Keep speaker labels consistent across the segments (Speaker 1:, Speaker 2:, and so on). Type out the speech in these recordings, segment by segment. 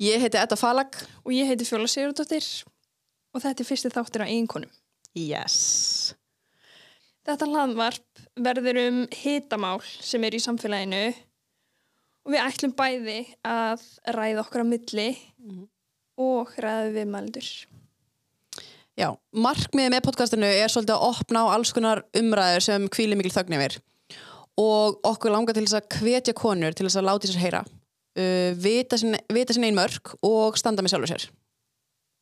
Speaker 1: Ég heiti Edda Falag.
Speaker 2: Og ég heiti Fjóla Sigurdóttir og þetta er fyrsti þáttur á einkonum.
Speaker 1: Yes.
Speaker 2: Þetta hlaðvarp verður um hitamál sem er í samfélaginu og við ætlum bæði að ræða okkar á milli og ræða við mældur.
Speaker 1: Já, markmiðið með podcastinu er svolítið að opna á alls konar umræður sem kvíli mikil þögn yfir og okkur langar til þess að hvetja konur til þess að láta í sér heyra uh, vita sín, vita sín ein mörg og standa með sjálfur sér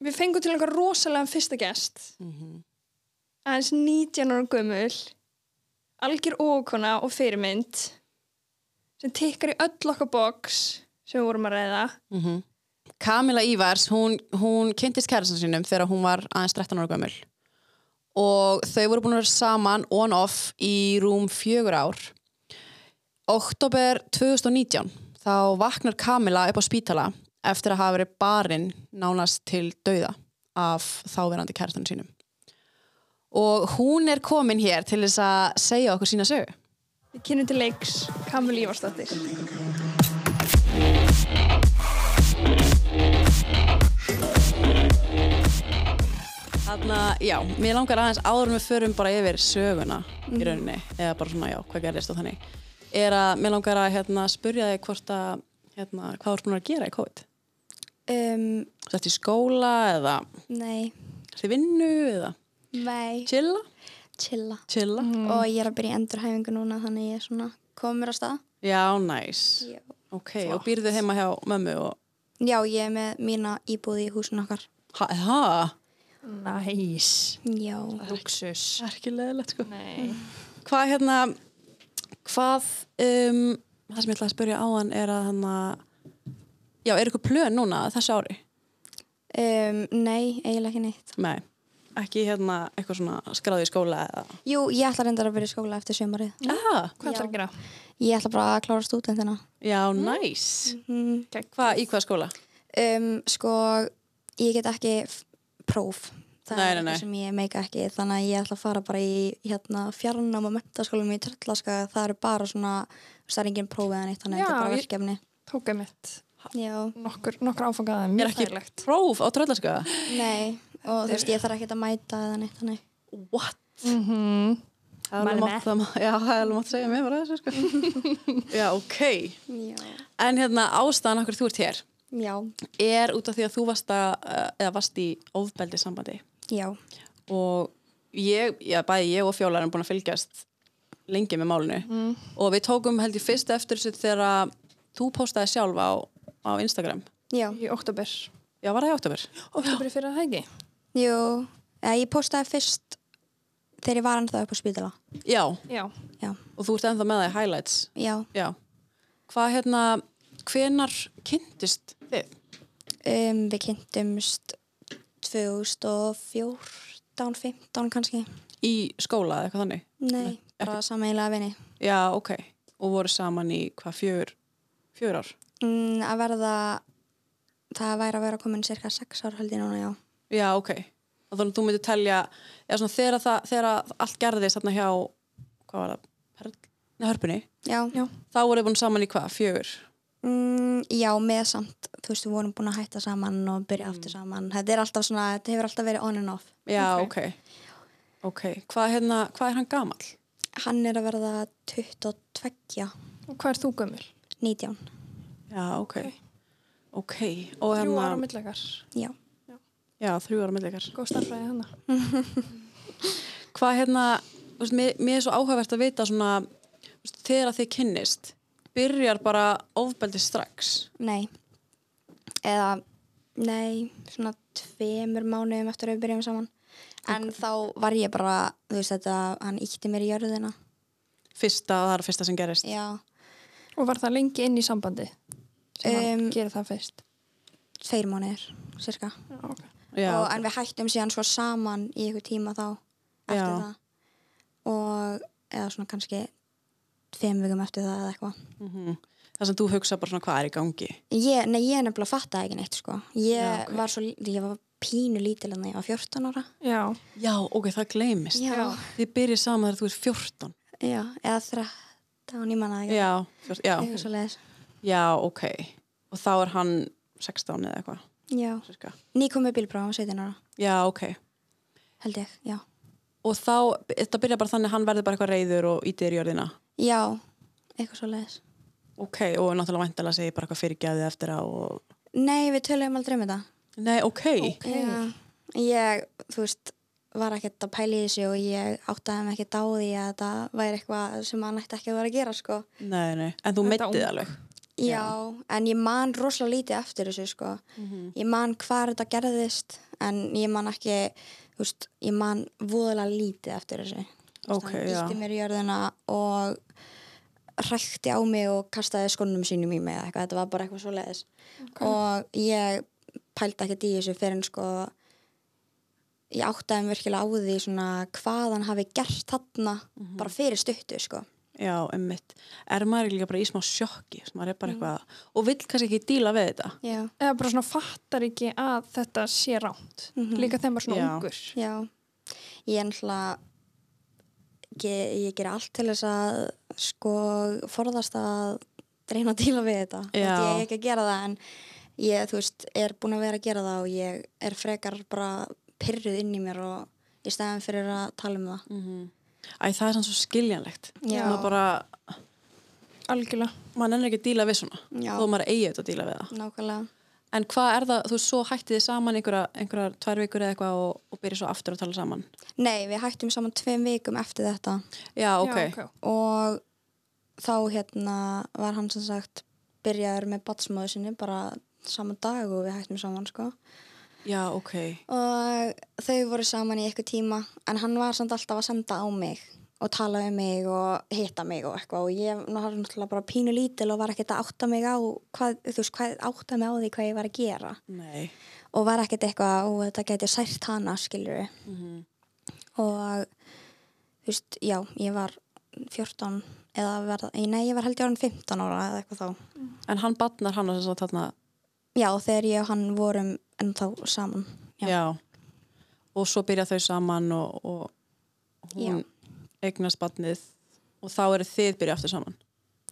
Speaker 2: Við fengum til einhver rosalega fyrsta gest, aðeins 19 ára gömul, algjör ókona og fyrirmynd sem tikkar í öll okkar box sem við vorum að ræða.
Speaker 1: Kamila Mhm. Ívars, hún, hún kynntist kærastan sínum þegar hún var aðeins 13 ára gömul og þau voru búin að vera saman on-off í rúm fjögur ár Oktober 2019 þá vaknar Kamila upp á spítala eftir að hafa verið barinn nánast til dauða af þáverandi kærastan sínum og hún er komin hér til þess að segja okkur sína sögu
Speaker 2: Við kynum til leiks Kamil Ívarsdóttir.
Speaker 1: Þannig að, já, mér langar aðeins áður en við förum bara yfir söguna í rauninni, eða bara svona, já, hvað gerðist og þannig, er að mér langar að hérna, spurja þig hvort að, hérna, hvað voru búin að gera í COVID?
Speaker 3: Um,
Speaker 1: Þetta í skóla eða
Speaker 3: nei,
Speaker 1: til vinnu eða
Speaker 3: nei, Mm.
Speaker 1: chilla?
Speaker 3: chilla.
Speaker 1: Chilla?
Speaker 3: Og ég er að byrja í endurhæfingu núna, þannig ég er svona komur á stað.
Speaker 1: Já, næs. Nice.
Speaker 3: Já.
Speaker 1: Ok, og býrðu heima hjá mömmu og,
Speaker 3: Já, ég er með mína íbúð í húsin okkar.
Speaker 1: ha, ha,
Speaker 2: Næs. Nice.
Speaker 3: Já,
Speaker 2: Luxus.
Speaker 1: það er ekki leðilegt sko.
Speaker 2: Nei.
Speaker 1: Hvað hérna, hvað, um, það sem ég ætla að spurja á hann er að hann að, já, er ykkur plön núna þessu ári?
Speaker 3: um, nei, eiginlega ekki neitt.
Speaker 1: Nei, ekki hérna eitthvað svona skráði í skóla eða
Speaker 3: Jú, ég ætla reyndar að byrja í skóla eftir sömarið.
Speaker 1: ah,
Speaker 2: Hvað ætlar að gera?
Speaker 3: Ég ætla bara að klára stúdentina.
Speaker 1: Já, næs nice.
Speaker 3: Mm.
Speaker 1: Hvað, í hvað skóla?
Speaker 3: Um, sko, ég get ekki f- próf. Það
Speaker 1: Nei,
Speaker 3: er
Speaker 1: nei, nei.
Speaker 3: eitthvað sem ég meika ekki, þannig að ég ætla að fara bara í hérna, fjarnám og mentaskólum í Tröllaska. Það eru bara svona, það er engin prófið en eitt, þannig að þetta
Speaker 2: Já,
Speaker 3: er bara
Speaker 2: ég-
Speaker 3: verkefni.
Speaker 2: Tók ég mitt
Speaker 3: Já.
Speaker 2: nokkur, nokkur áfangaða, mjög
Speaker 1: Er ekki
Speaker 2: þægilegt.
Speaker 1: próf á tröllarska?
Speaker 3: Nei, og þú veist, ég þarf ekkert að mæta eða neitt þannig.
Speaker 1: What?
Speaker 2: Mm -hmm.
Speaker 1: Það er alveg
Speaker 2: Mæli
Speaker 1: mátt- það má- já, það er alveg mátt segja mér bara þessu sko Já, ok
Speaker 3: Já.
Speaker 1: En hérna, ástæðan okkur þú ert hér
Speaker 3: Já,
Speaker 1: er út af því að þú varst að eh, eða varst í ofbeldi sambandi
Speaker 3: já,
Speaker 1: og ég, já, bæði ég og Fjóla erum búin að fylgjast lengi með málinu
Speaker 2: Mm.
Speaker 1: og við tókum held ég fyrst eftir þessu þegar að þú postaði sjálf á, á Instagram
Speaker 3: já.
Speaker 2: Í oktober.
Speaker 1: Já, var það í oktober?
Speaker 2: Oktober fyrir að það ekki.
Speaker 3: Jú, eða, ég postaði fyrst þegar ég var ennþá upp á spítala.
Speaker 1: Já,
Speaker 2: Já.
Speaker 3: Já,
Speaker 1: og þú ert ennþá með það í highlights.
Speaker 3: já.
Speaker 1: Já. Hvað hérna, hvenar kynntist þið?
Speaker 3: Um, við kynntumst 2014, 15 kannski.
Speaker 1: Í skóla eða eitthvað þannig?
Speaker 3: Nei, bara sammeila vini.
Speaker 1: Já, ok. Og voru saman í hvað, fjör, fjör ár?
Speaker 3: Mm, að verða, það væri að vera komin cirka 6 ár held ég núna, já.
Speaker 1: Já, ok. Og þannig að þú myndir telja, já svona þegar, það, þegar að allt gerðist þarna hjá, hvað var það, Perl, nei, hörpunni,
Speaker 3: Já, já.
Speaker 1: þá voru þið búin saman í hvað, fjör?
Speaker 3: Mm, já, með samt, þú veist, við vorum búin að hætta saman og byrja aftur saman. Þetta er alltaf svona, þetta hefur alltaf verið on and off.
Speaker 1: Já,
Speaker 2: Ok.
Speaker 1: ok. Ok, hvað, hérna, hvað er hann gamall?
Speaker 3: Hann er að verða 22,
Speaker 2: Og hvað er þú gömul?
Speaker 3: 19,
Speaker 1: Já, ok. Ok, og
Speaker 2: Þrjú ára
Speaker 1: hérna,
Speaker 2: millikar.
Speaker 3: já.
Speaker 1: já, þrjú ára millikar.
Speaker 2: Góð hérna. starfræði hana.
Speaker 1: hvað hérna þú veist, mér, mér er svo áhugavert að vita svona, þú veist, þegar þið kynnist byrjar bara ofbeldi strax
Speaker 3: Nei, eða, nei, svona tveimur mánuðum eftir að við byrjum saman. En þá var ég bara, þú veist þetta, hann ítti mér í jörðina.
Speaker 1: fyrsta, það er fyrsta sem gerist
Speaker 3: Já,
Speaker 2: Og var það lengi inn í sambandi? Sem hann
Speaker 3: Um,
Speaker 2: gerir það fyrst.
Speaker 3: tveir mánuðir, cirka.
Speaker 2: Já, ok.
Speaker 1: já,
Speaker 3: Og, en við hættum síðan svo saman í ykkur tíma þá, eftir
Speaker 1: Já.
Speaker 3: það. Og, eða svona kannski tveim vikum eftir það eða eitthvað.
Speaker 1: mhm. það sem þú hugsa bara svona hvað er í gangi
Speaker 3: Ég, nei, ég nefnilega fattaði ekki neitt, sko. Ég
Speaker 1: Já, ok.
Speaker 3: var svo, lí- ég var pínu lítil en ég var 14 ára.
Speaker 2: Já.
Speaker 1: já, ok, það gleymist
Speaker 3: Já,
Speaker 2: Já.
Speaker 1: þið byrjið saman þegar þú er 14
Speaker 3: já, eða 13, ég manna það ekki.
Speaker 1: já, 14, já.
Speaker 3: Eitthvað svo leiðis.
Speaker 1: já, ok og þá er hann 16 eða eitthvað
Speaker 3: já.
Speaker 1: sirka.
Speaker 3: Nýkomið bílbráð, hann var 17 ára,
Speaker 1: Já, ok.
Speaker 3: held ég, já.
Speaker 1: Og þá, þetta byrja bara þannig að hann verður bara eitthvað reyður og ítir í jörðina.
Speaker 3: Já, eitthvað svo leiðis.
Speaker 1: Ok, og náttúrulega væntalega segir bara eitthvað fyrirgæðið eftir á og...
Speaker 3: Nei, við töluðum aldrei um þetta.
Speaker 1: Nei, ok.
Speaker 3: Já. Ég, þú veist, var ekkert að pæla í þessu og ég áttaði mig ekkert á því að þetta væri eitthvað sem hann ætti ekki að vera að gera, sko.
Speaker 1: Nei, nei. En þú
Speaker 2: Þetta
Speaker 1: meittið
Speaker 2: ung.
Speaker 1: alveg.
Speaker 3: Já, en ég man rosalega lítið eftir þessu, sko. Ég man hvað þetta gerðist, en ég man ekki, þú veist, ég man voðalega lítið eftir þessu. Þú veist,
Speaker 1: Ok,
Speaker 3: hann
Speaker 1: já.
Speaker 3: Ítti mér í jörðina og hrækti á mig og kastaði skonum sínum í mig eða eitthvað, þetta var bara eitthvað svo leiðis. og ég pældi ekkert í þessu fyrir en sko ég áttaði mig virkilega á því svona hvað hann hafi gert þarna bara fyrir stuttu sko
Speaker 1: Já, emmitt. Er maður líka bara í smá sjokki, sem maður er bara eitthvað... Og vill kannski ekki díla við þetta.
Speaker 3: já,
Speaker 2: eða bara svona fattar ekki að þetta sé rámt
Speaker 3: Mhm.
Speaker 2: líka þegar maður er svona
Speaker 1: Já.
Speaker 2: ungur
Speaker 3: já ég er náttúrulega ég, ég ger allt til þess að sko forðast að reyna að díla við þetta Þú veist,
Speaker 1: Já.
Speaker 3: ég er ekki að gera það en ég þú veist er búin að vera að gera það og ég er frekar bara pyrruð inn í mér og í stæðan fyrir að tala um það
Speaker 1: Mhm. Æ, það er sann svo skiljanlegt.
Speaker 3: Já.
Speaker 1: Maður bara...
Speaker 2: algjörlega,
Speaker 1: Maður nennir ekki að díla við svona.
Speaker 3: Já.
Speaker 1: Þó maður eigi þetta að díla við það.
Speaker 3: nákvæmlega
Speaker 1: En hvað er það, þú veist, svo hættið þið saman einhverja, einhverjar tvær vikur eða eitthvað og, og byrja svo aftur að tala saman.
Speaker 3: Nei, við hættum saman tveim vikum eftir þetta
Speaker 1: Já, ok.
Speaker 2: já, ok.
Speaker 3: og þá hérna var hann sem sagt byrjaður með batsmóðu sinni bara saman dag og við hættum saman sko
Speaker 1: Já, ok.
Speaker 3: og þau voru saman í eitthvað tíma en hann var samt alltaf að senda á mig og tala um mig og hitta mig og eitthvað og ég nú var náttúrulega bara pínu lítil og var ekkert að átta mig á hvað, þú veist, hvað átta mig á því hvað ég var að gera
Speaker 1: Nei.
Speaker 3: og var ekkert eitthvað og þetta geti sært hana skilur við
Speaker 1: Mhm.
Speaker 3: og þú veist, já, ég var 14 eða verða, nei, ég var held ég orðin 15 ára eða eitthvað þá
Speaker 1: En hann batnar hann að þess að þarna
Speaker 3: já, þegar ég og hann vorum en þá saman
Speaker 1: já.
Speaker 3: já,
Speaker 1: og svo byrja þau saman og, og hún eignast batnið og þá eru þið byrja aftur saman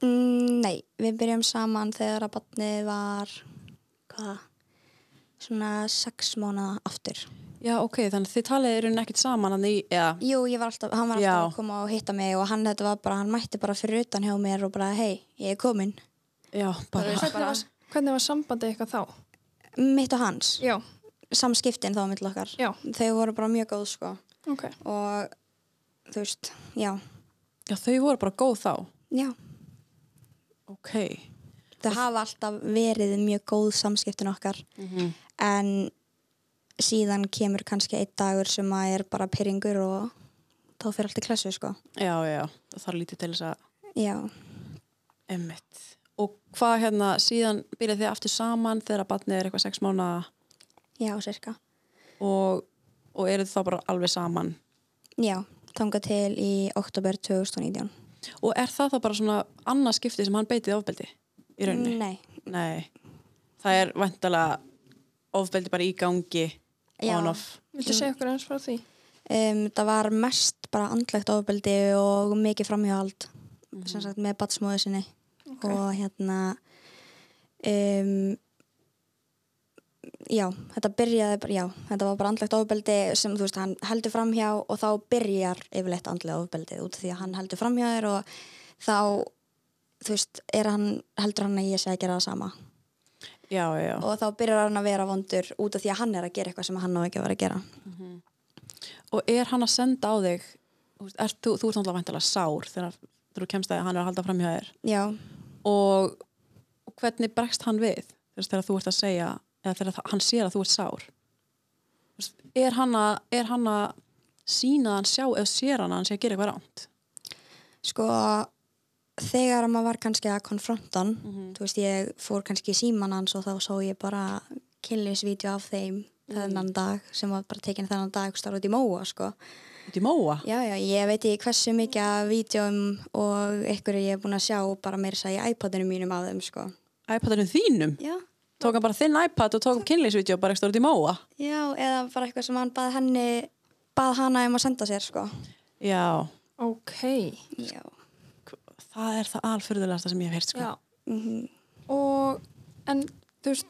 Speaker 3: Mm, nei, við byrjum saman þegar að batnið var hvað svona sex mánuða aftur
Speaker 1: já ok, þannig að þið talið eru ekkert saman hann í, já,
Speaker 3: Jú, ég var alltaf, hann var alltaf
Speaker 1: Já.
Speaker 3: að koma og hitta mig og hann þetta var bara, hann mætti bara fyrir utan hjá mér og bara, hei, ég er komin
Speaker 1: já, bara
Speaker 3: veist-
Speaker 2: hvernig,
Speaker 3: Bara-
Speaker 2: var, hvernig var sambandið eitthvað þá
Speaker 3: mitt og hans
Speaker 2: já,
Speaker 3: samskiptin þá mittl okkar
Speaker 2: Já.
Speaker 3: þau voru bara mjög góð sko
Speaker 2: ok
Speaker 3: og þú veist, já,
Speaker 1: já, þau voru bara góð þá
Speaker 3: já
Speaker 1: ok,
Speaker 3: þau hafa alltaf verið mjög góð samskiptin okkar
Speaker 1: Mhm.
Speaker 3: en síðan kemur kannski einn dagur sem að er bara pyrringur og þá fyrir allt í klassu sko
Speaker 1: já, já, já það þarf lítið til þess að
Speaker 3: já,
Speaker 1: emmitt og hvað hérna, síðan byrja þið aftur saman þegar að batnið er eitthvað sex mánu
Speaker 3: já, sirka
Speaker 1: og, og eru þið þá bara alveg saman
Speaker 3: já, þangað til í oktober 2019
Speaker 1: og er það þá bara svona annað skipti sem hann beitið ofbeldi í rauninni?
Speaker 3: nei,
Speaker 1: Nei, það er vantalega ofbeldi bara í gangi
Speaker 3: Já.
Speaker 1: on off.
Speaker 2: viltu segja okkur eins frá því?
Speaker 3: um, það var mest bara andlegt ofbeldi og mikið framhjóðald sem sagt með batsmóðu sinni og hérna um, já, þetta byrjaði bara, já, þetta var bara andlegt ofbeldi sem þú veist, hann heldur framhjá og þá byrjar yfirleitt andlega ofbeldið út af því að hann heldur framhjá þér og þá þú veist, er hann, heldur hann að ég sé að gera það sama
Speaker 1: Já, já, já.
Speaker 3: og þá byrjar hann að vera vondur út af því að hann er að gera eitthvað sem hann á ekki að vera að gera
Speaker 1: Og er hann að senda á þig, þú veist, ert, þú, þú ert náttúrulega vantalega sár þegar þegar þú kemst að hann er að halda framhjá þér
Speaker 3: já,
Speaker 1: og, og hvernig bregst hann við þú veist, þegar þú ert að segja eða þegar þa- hann sér að þú ert sár Þú veist, er hann að, er hann að sína að hann sjá eða sér hann að hann sé að gera eitthvað rámt
Speaker 3: sko þegar maður var kannski að konfronta hann
Speaker 1: Mhm. Mm.
Speaker 3: þú veist ég fór kannski í síman hans og þá sá ég bara kynlisvídeó af þeim þennan dag sem var bara tekin þennan dag starf út í móa sko
Speaker 1: út í móa
Speaker 3: já já ég veit ekki hversu mikið af vídeóum og ykkur ég er búin að sjá bara meira þess að í iPadinu mínum af þeim sko
Speaker 1: iPadinu þínum
Speaker 3: já
Speaker 1: tók hann bara þinn iPad og tók kynlýsvídeó bara ekki stórt í móa
Speaker 3: já eða bara eitthvað sem hann bað henni bað hana um að senda sér sko
Speaker 1: já,
Speaker 2: ok
Speaker 3: já
Speaker 1: það
Speaker 3: mhm.
Speaker 1: er það alfyrðulegasta sem ég hef heyrt sko.
Speaker 2: og en þú veist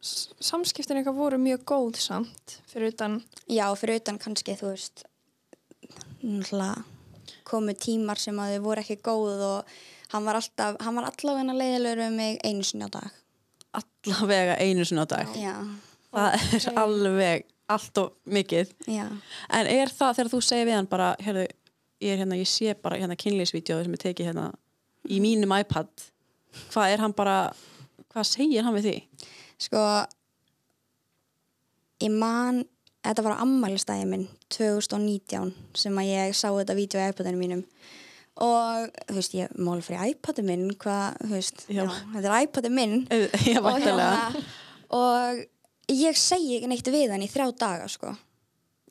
Speaker 2: s- samskiptin eitthvað voru mjög góð samt fyrir utan
Speaker 3: Já, fyrir utan kannski, þú veist, náttúrulega komu tímar sem að þau voru ekki góð og hann var alltaf, hann var allavega leiðilegur um mig einu sinni á dag.
Speaker 1: allavega einu sinna á dag
Speaker 3: Já,
Speaker 1: það er alveg allt og mikið
Speaker 3: já,
Speaker 1: en er það þegar þú segir við hann bara heyrðu, ég, er hérna, ég sé bara hérna kynlýsvídeóðu sem er tekið hérna í mínum iPad hvað er hann bara hvað segir hann við því?
Speaker 3: sko, ég man, þetta var á ammælistæði minn 2019 sem að ég sá þetta vídeo í iPadinu mínum og, þú veist, ég mál fyrir iPadinu minn, hvað, þú veist,
Speaker 1: Já.
Speaker 3: já, þetta er iPadinu minn.
Speaker 1: Auð- Já,
Speaker 3: og,
Speaker 1: væntanlega
Speaker 3: hérna, og ég segi ekki neitt við hann í þrjá daga sko.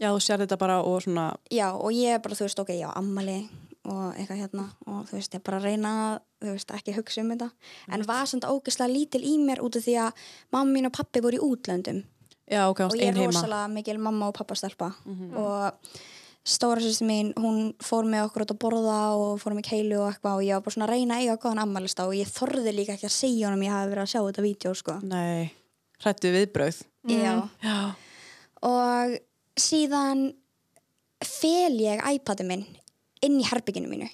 Speaker 1: Já, þú sér þetta bara og svona
Speaker 3: já, og ég er bara, þú veist, ok, já, ammali og eitthvað hérna og þú veist, ég bara reyna að, þú veist, ekki hugsa um þetta en var samt ógeðslega lítil í mér út af því að mamma mín og pappi voru í útlöndum
Speaker 1: Já, ok,
Speaker 3: og
Speaker 1: ást
Speaker 3: ég er
Speaker 1: einn heima
Speaker 3: rosalega mikil mamma og pappa stelpa og stóra sýstu mín, hún fór með okkur út að borða og fór með keilu og eitthvað og ég var bara svona að reyna að eiga góðan ammalista og ég þorði líka ekki að segja honum að ég hafi verið að sjá þetta vídeo sko.
Speaker 1: Nei, hrættu viðbröð
Speaker 3: já
Speaker 1: Já,
Speaker 3: og síðan fel ég iPadin minn inn í herbygginu mínu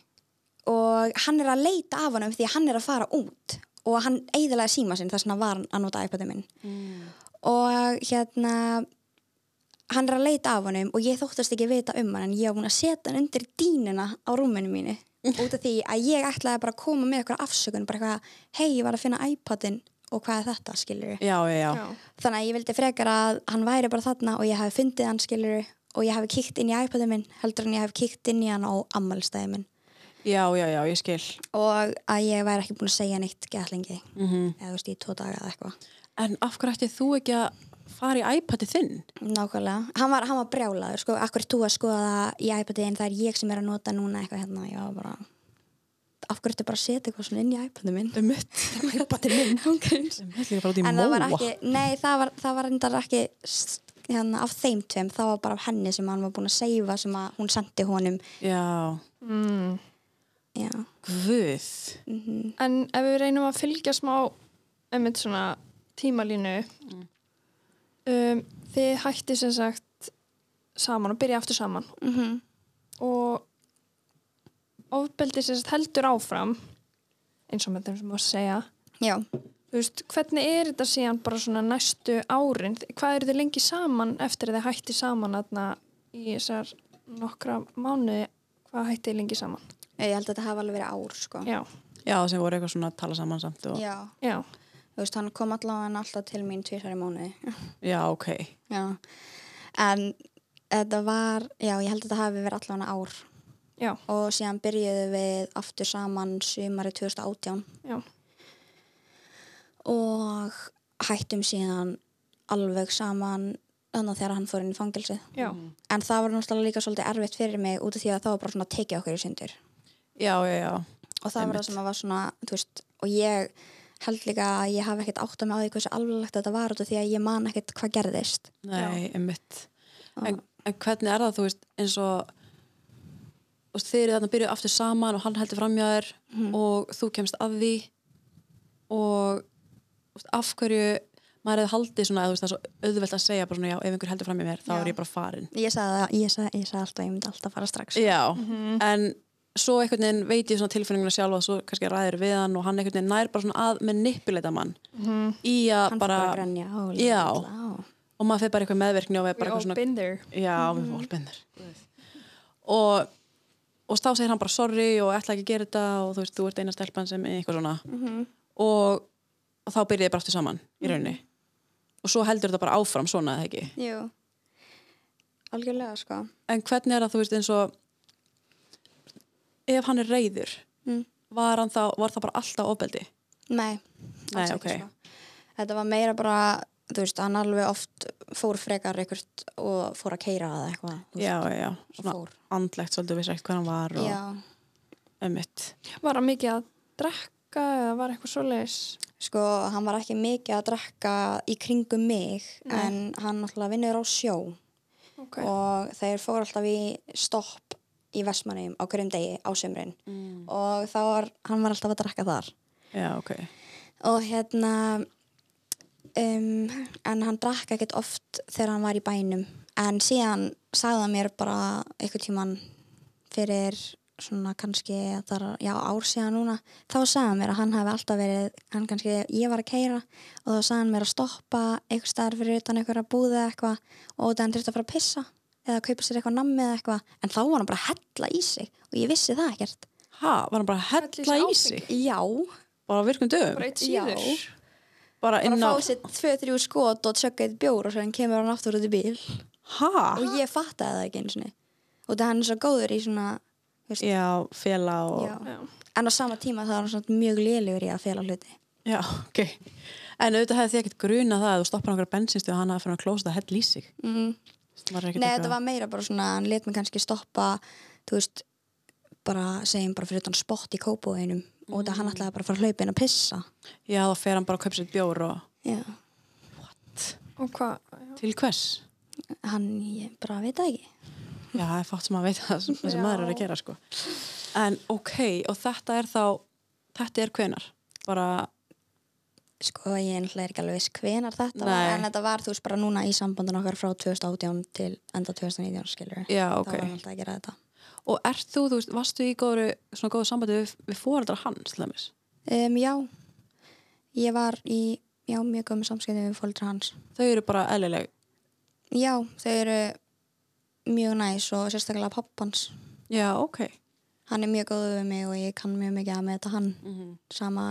Speaker 3: og hann er að leita af honum því að hann er að fara út og hann eiðilega síma sinn þess vegna var hann að nota iPadin minn og hérna hann er að leita af honum og ég þóttast ekki vita um hann en ég var búin að setja hann undir dýnina á rúminu mínu út af því að ég ætlaði bara að koma með eitthvað afsökun bara eitthvað, hei, ég var að finna iPadin og hvað er þetta, skilur
Speaker 1: já, já, já.
Speaker 2: já,
Speaker 3: Þannig að ég vildi frekar að hann væri bara þarna og ég hafi fundið hann skiluru og ég hafi kíkt inn í iPadin minn heldur en ég hafi kíkt inn í hann á ammælstæði minn
Speaker 1: Já, já, já, ég skil.
Speaker 3: og að ég væri ekki búin að segja neitt gætlingi
Speaker 1: Mm
Speaker 3: eða þú veist í tvo daga eða eitthvað
Speaker 1: En af hverju ætti þú ekki að fara í iPadið þinn?
Speaker 3: Nákvæmlega, hann var, hann var brjálaður sko, akkur þú að skoða það í iPadin það er ég sem er að nota núna eitthvað hérna ég var bara, akkur ertu bara að setja eitthvað svona inn í iPadin minn
Speaker 1: Um mitt.
Speaker 3: iPadin minn, ok
Speaker 1: Um mitt líka bara út í
Speaker 3: en það var
Speaker 1: móa.
Speaker 3: ekki, nei það var, það var endar ekki s- hérna, af þeim tveim, það var bara af henni sem hann var búin að seifa sem að hún sendi honum
Speaker 1: Já,
Speaker 2: mm.
Speaker 3: já, mhm,
Speaker 1: guð.
Speaker 2: en ef við reynum að fylgja smá einmitt svona tímalínu um, þið hætti sem sagt saman og byrja aftur saman
Speaker 3: mm -hmm.
Speaker 2: og ofbeldi sem sagt heldur áfram eins og með þeim sem þú varst að segja
Speaker 3: já.
Speaker 2: þú veist, hvernig er þetta síðan bara svona næstu árin, hvað eru þið lengi saman eftir að þið hætti saman þarna í þessar nokkra mánuði, hvað hætti þið lengi saman
Speaker 3: ég held að þetta hafa alveg verið ár sko.
Speaker 2: já,
Speaker 1: Já, sem voru eitthvað svona að tala saman samt og... Já,
Speaker 3: já,
Speaker 2: já,
Speaker 3: þú veist hann kom allavega alltaf til mín tvisar í mánuði
Speaker 1: ok.
Speaker 3: já, en þetta var, já ég held að þetta hafi verið allavega ár
Speaker 2: já,
Speaker 3: og síðan byrjuðu við aftur saman sumari 2018
Speaker 2: já
Speaker 3: og hættum síðan alveg saman þannig að þegar hann fór inn í fangilsið
Speaker 2: já,
Speaker 3: En það var náttúrulega líka svolítið erfitt fyrir mig út af því að það var bara svona að tekið okkur í sundur.
Speaker 1: Já, já, já.
Speaker 3: Og það var það sem að var svona, þú veist, og ég held líka að ég hafi ekkert átt að mig á því hversu alveglegt þetta var út af því að ég man ekkert hvað gerðist.
Speaker 1: Nei, um mitt. En, en hvernig er það, þú veist, eins og... Og þeir eru þarna að byrja aftur saman og hann heldur framjá þér og þú kemst að því og þú veist, af hverju maður hefði haldið svona, þú veist, það er svo auðvelt að segja bara svona, já, ef einhver heldur framjá mér, þá
Speaker 3: Já.
Speaker 1: er ég bara farin.
Speaker 3: Ég sagði það, ég sagði, ég sagði alltaf að ég myndi alltaf fara strax.
Speaker 1: Já,
Speaker 3: Mhm.
Speaker 1: en svo einhvern veginn veit ég svona tilfinninguna sjálf að svo kannski ræður við hann og hann einhvern veginn nær bara svona að með nippuleita mann í að
Speaker 3: Mhm.
Speaker 1: bara,
Speaker 3: Hann bara, bara grænja á.
Speaker 1: Já.
Speaker 3: Á.
Speaker 1: og maður fyrir bara eitthvað meðverkni og við bara
Speaker 2: we
Speaker 1: eitthvað
Speaker 2: all
Speaker 1: svona
Speaker 2: been there
Speaker 1: Já, við
Speaker 3: Mhm.
Speaker 1: fórum allbennir og, og þá segir hann bara sorry og ætla ekki að gera þetta og þú veist, þú ert eina stelpan sem er eitthvað svona
Speaker 3: Mhm.
Speaker 1: og, og þá byrjið þið bara aftur saman í rauninni og svo heldur þetta bara áfram svona eða ekki
Speaker 3: Jú. Algjörlega, sko.
Speaker 1: en hvernig er það, þú veist, eins og ef hann er reyður
Speaker 3: Mm.
Speaker 1: var, hann þá, var það bara alltaf ofbeldi?
Speaker 3: Nei, alls
Speaker 1: Nei,
Speaker 3: ekki
Speaker 1: ok.
Speaker 3: sko. Þetta var meira bara, þú veist, hann alveg oft fór frekar ykkurt og fór að keira það eitthvað. þú veist,
Speaker 1: Já, já, já,
Speaker 3: og
Speaker 1: svona
Speaker 3: fór.
Speaker 1: andlegt svolítið vissi ekkert hvað hann var og
Speaker 3: Já,
Speaker 1: ömmitt.
Speaker 2: var hann mikið að drekka eða var eitthvað svoleiðis
Speaker 3: sko, hann var ekki mikið að drekka í kringum mig en hann náttúrulega vinnur á sjó
Speaker 2: ok,
Speaker 3: og þeir fóru alltaf í stopp í Vestmannum á hverjum degi á sömrin og þá var, hann var alltaf að drekka þar
Speaker 1: Já, ok.
Speaker 3: og hérna um, en hann drakk ekkert oft þegar hann var í bænum en síðan sagði hann mér bara einhvern tíman fyrir svona kannski þar, já, ár síðan núna þá sagði hann mér að hann hefði alltaf verið hann kannski, ég var að keira og þá sagði hann mér að stoppa einhver staðar fyrir utan einhverja búði eða eitthvað og það hann þurfti að fara að pissa eða kaupa sér eitthvað nammi eða eitthvað en þá var hann bara að hella í sig og ég vissi það ekkert
Speaker 1: Hæ, var hann bara að hella
Speaker 2: Hella í
Speaker 1: í
Speaker 2: sig
Speaker 1: sig?
Speaker 3: já,
Speaker 1: Bara á virkum dögum?
Speaker 2: bara eitt síður
Speaker 3: Já.
Speaker 1: Bara
Speaker 3: bara
Speaker 1: inn á...
Speaker 3: fá sér tvö, þrjú skot og tjögga eitt bjór og svo kemur hann aftur út í bíl
Speaker 1: Hæ?
Speaker 3: og ég fattaði það ekki eins og og það hann er svo góður í svona þú veist,
Speaker 1: Já, fela og...
Speaker 3: já.
Speaker 2: Já.
Speaker 3: en á sama tíma það er hann svona mjög lélugur í að fela hluti
Speaker 1: Já, ok. En auðvitað hefði þið ekkert grunað það að þú stoppar nokkra bensinstu og hann hafði fyrir að klósa það hell í sig.
Speaker 3: mm.
Speaker 1: Mhm. Það var ekkert
Speaker 3: nei
Speaker 1: eitthvað-
Speaker 3: þetta var meira bara svona hann let mig kannski stoppa þú veist bara segjum bara fyrir utan spott í kópóinum og það
Speaker 1: Mm.
Speaker 3: hann ætlaði bara að fara að hlaupa inn að pissa
Speaker 1: Já, þá fer hann bara að kaupa sér bjór og
Speaker 3: já.
Speaker 2: og hvað,
Speaker 1: til hvers?
Speaker 3: hann ég bara veit það ekki
Speaker 1: Já, það er fátt sem að veita það sem þessi
Speaker 2: Já.
Speaker 1: maður er að gera, sko. En ok, og þetta er þá, þetta er hvenar? Bara,
Speaker 3: sko ég náttúrulega er ekki alveg viss hvenar þetta var
Speaker 1: Nei.
Speaker 3: en þetta var þú veist bara núna í sambandun okkar frá 2018 til enda 2019 skilur
Speaker 1: já,
Speaker 3: þá
Speaker 1: ok.
Speaker 3: var hann alltaf að gera þetta
Speaker 1: Og ert þú, þú veist, varstu í góðu, svona góðu sambandi við, við fóreldra hans, til dæmis?
Speaker 3: Um, já, ég var í já, mjög gömur samskiptum við fólitra hans.
Speaker 1: Þau eru bara eðlileg.
Speaker 3: Já, þau eru mjög næs og sérstaklega pappans.
Speaker 1: Já, ok.
Speaker 3: Hann er mjög góður við mig og ég kann mjög mikið að með þetta hann.
Speaker 1: Mm
Speaker 3: Sama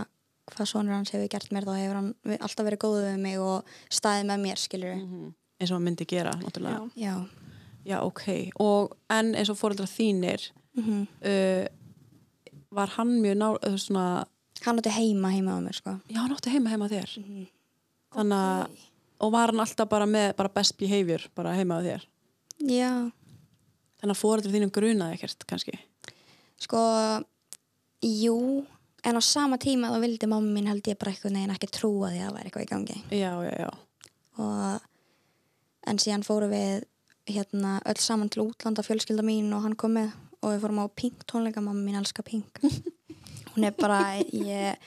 Speaker 3: hvað sonur hans hefur gert mér þá hefur hann ve- alltaf verið góður við mig og staðið með mér, skilur
Speaker 1: Mm.
Speaker 3: við.
Speaker 1: Eins og maður myndi gera, náttúrulega.
Speaker 2: Já.
Speaker 3: Já,
Speaker 1: Já, ok. Og, en eins og fóreldra þínir,
Speaker 3: Mhm.
Speaker 1: uh, var hann mjög ná, uh, svona,
Speaker 3: hann átti heima heima á mér, sko.
Speaker 1: já, hann átti heima heima þér. Þannig að, og var hann alltaf bara með, bara best behavior, bara heima á þér.
Speaker 3: Já,
Speaker 1: Þannig að fóreldra þínum grunaði ekkert, kannski.
Speaker 3: sko, jú, en á sama tíma þá vildi mamma mín held ég bara eitthvað neginn ekki trúa því að það væri eitthvað í gangi.
Speaker 1: Já, já, já.
Speaker 3: og en síðan fórum við hérna öll saman til útlanda fjölskylda mín og hann kom með og við fórum á Pink tónleika, mamma mín elskar Pink hún er bara ég,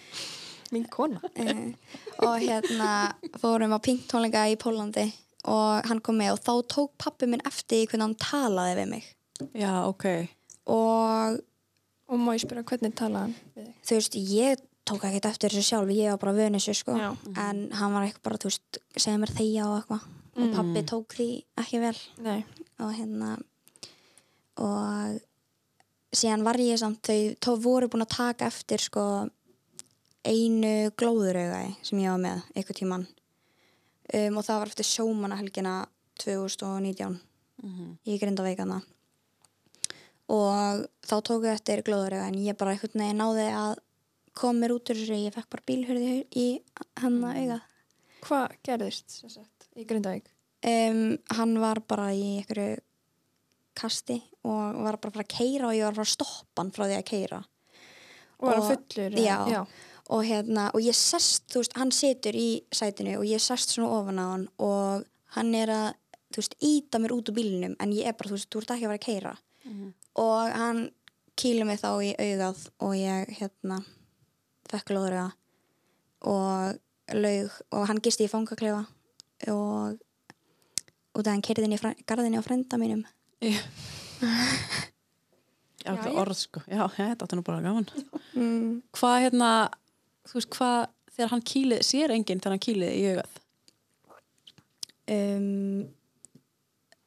Speaker 2: mín kona
Speaker 3: eh, og hérna fórum á Pink tónleika í Pólandi og hann kom með og þá tók pappi minn eftir því hvernig hann talaði við mig
Speaker 1: Já, ok.
Speaker 3: og
Speaker 2: og má ég spyrja hvernig talaði hann við þig
Speaker 3: þú veist, ég tók ekkert eftir þessu sjálf ég var bara vönu þessu sko
Speaker 2: Já.
Speaker 3: en hann var eitthvað bara, þú veist, segja mér þegja og eitthvað og pappi tók því ekki vel
Speaker 2: nei,
Speaker 3: og hérna og síðan var ég samt þau þá voru búin að taka eftir sko einu glóðurauga sem ég var með einhver tíman um, og það var eftir sjómanahelgina 2019 í grindaveikana og þá tók ég eftir glóðurauga en ég bara einhvern veginn náði að koma mér út úr þessu ég fekk bara bílhörði í, í hann að augað
Speaker 2: hvað gerðist sem sagt, í Grindavík
Speaker 3: um, hann var bara í einhverju kasti og var bara að fara að keira og ég var bara að stoppa hann frá því að keira
Speaker 2: og var
Speaker 3: Og-
Speaker 2: að fullur eða-
Speaker 3: já.
Speaker 2: já.
Speaker 3: og hérna, og ég sest, þú veist, hann situr í sætinu og ég sest svona ofan á hann og hann er að, þú veist, íta mér út úr bílinum en ég er bara, þú veist, þú ert ekki að vera að keira og hann kýlur mig þá í augað og ég, hérna, fekk lóðra og laug og hann gisti í fangaklefa og út að hann keirði inn í fræ- garðinni á frenda mínum
Speaker 1: Já. Já,
Speaker 2: Jæja.
Speaker 1: orð, sko. Já, já, þetta átti nú bara gaman.
Speaker 3: mm.
Speaker 1: Hvað, hérna, þú veist, hvað, þegar hann kýlið, sér enginn þegar hann kýlið í augað?
Speaker 3: um,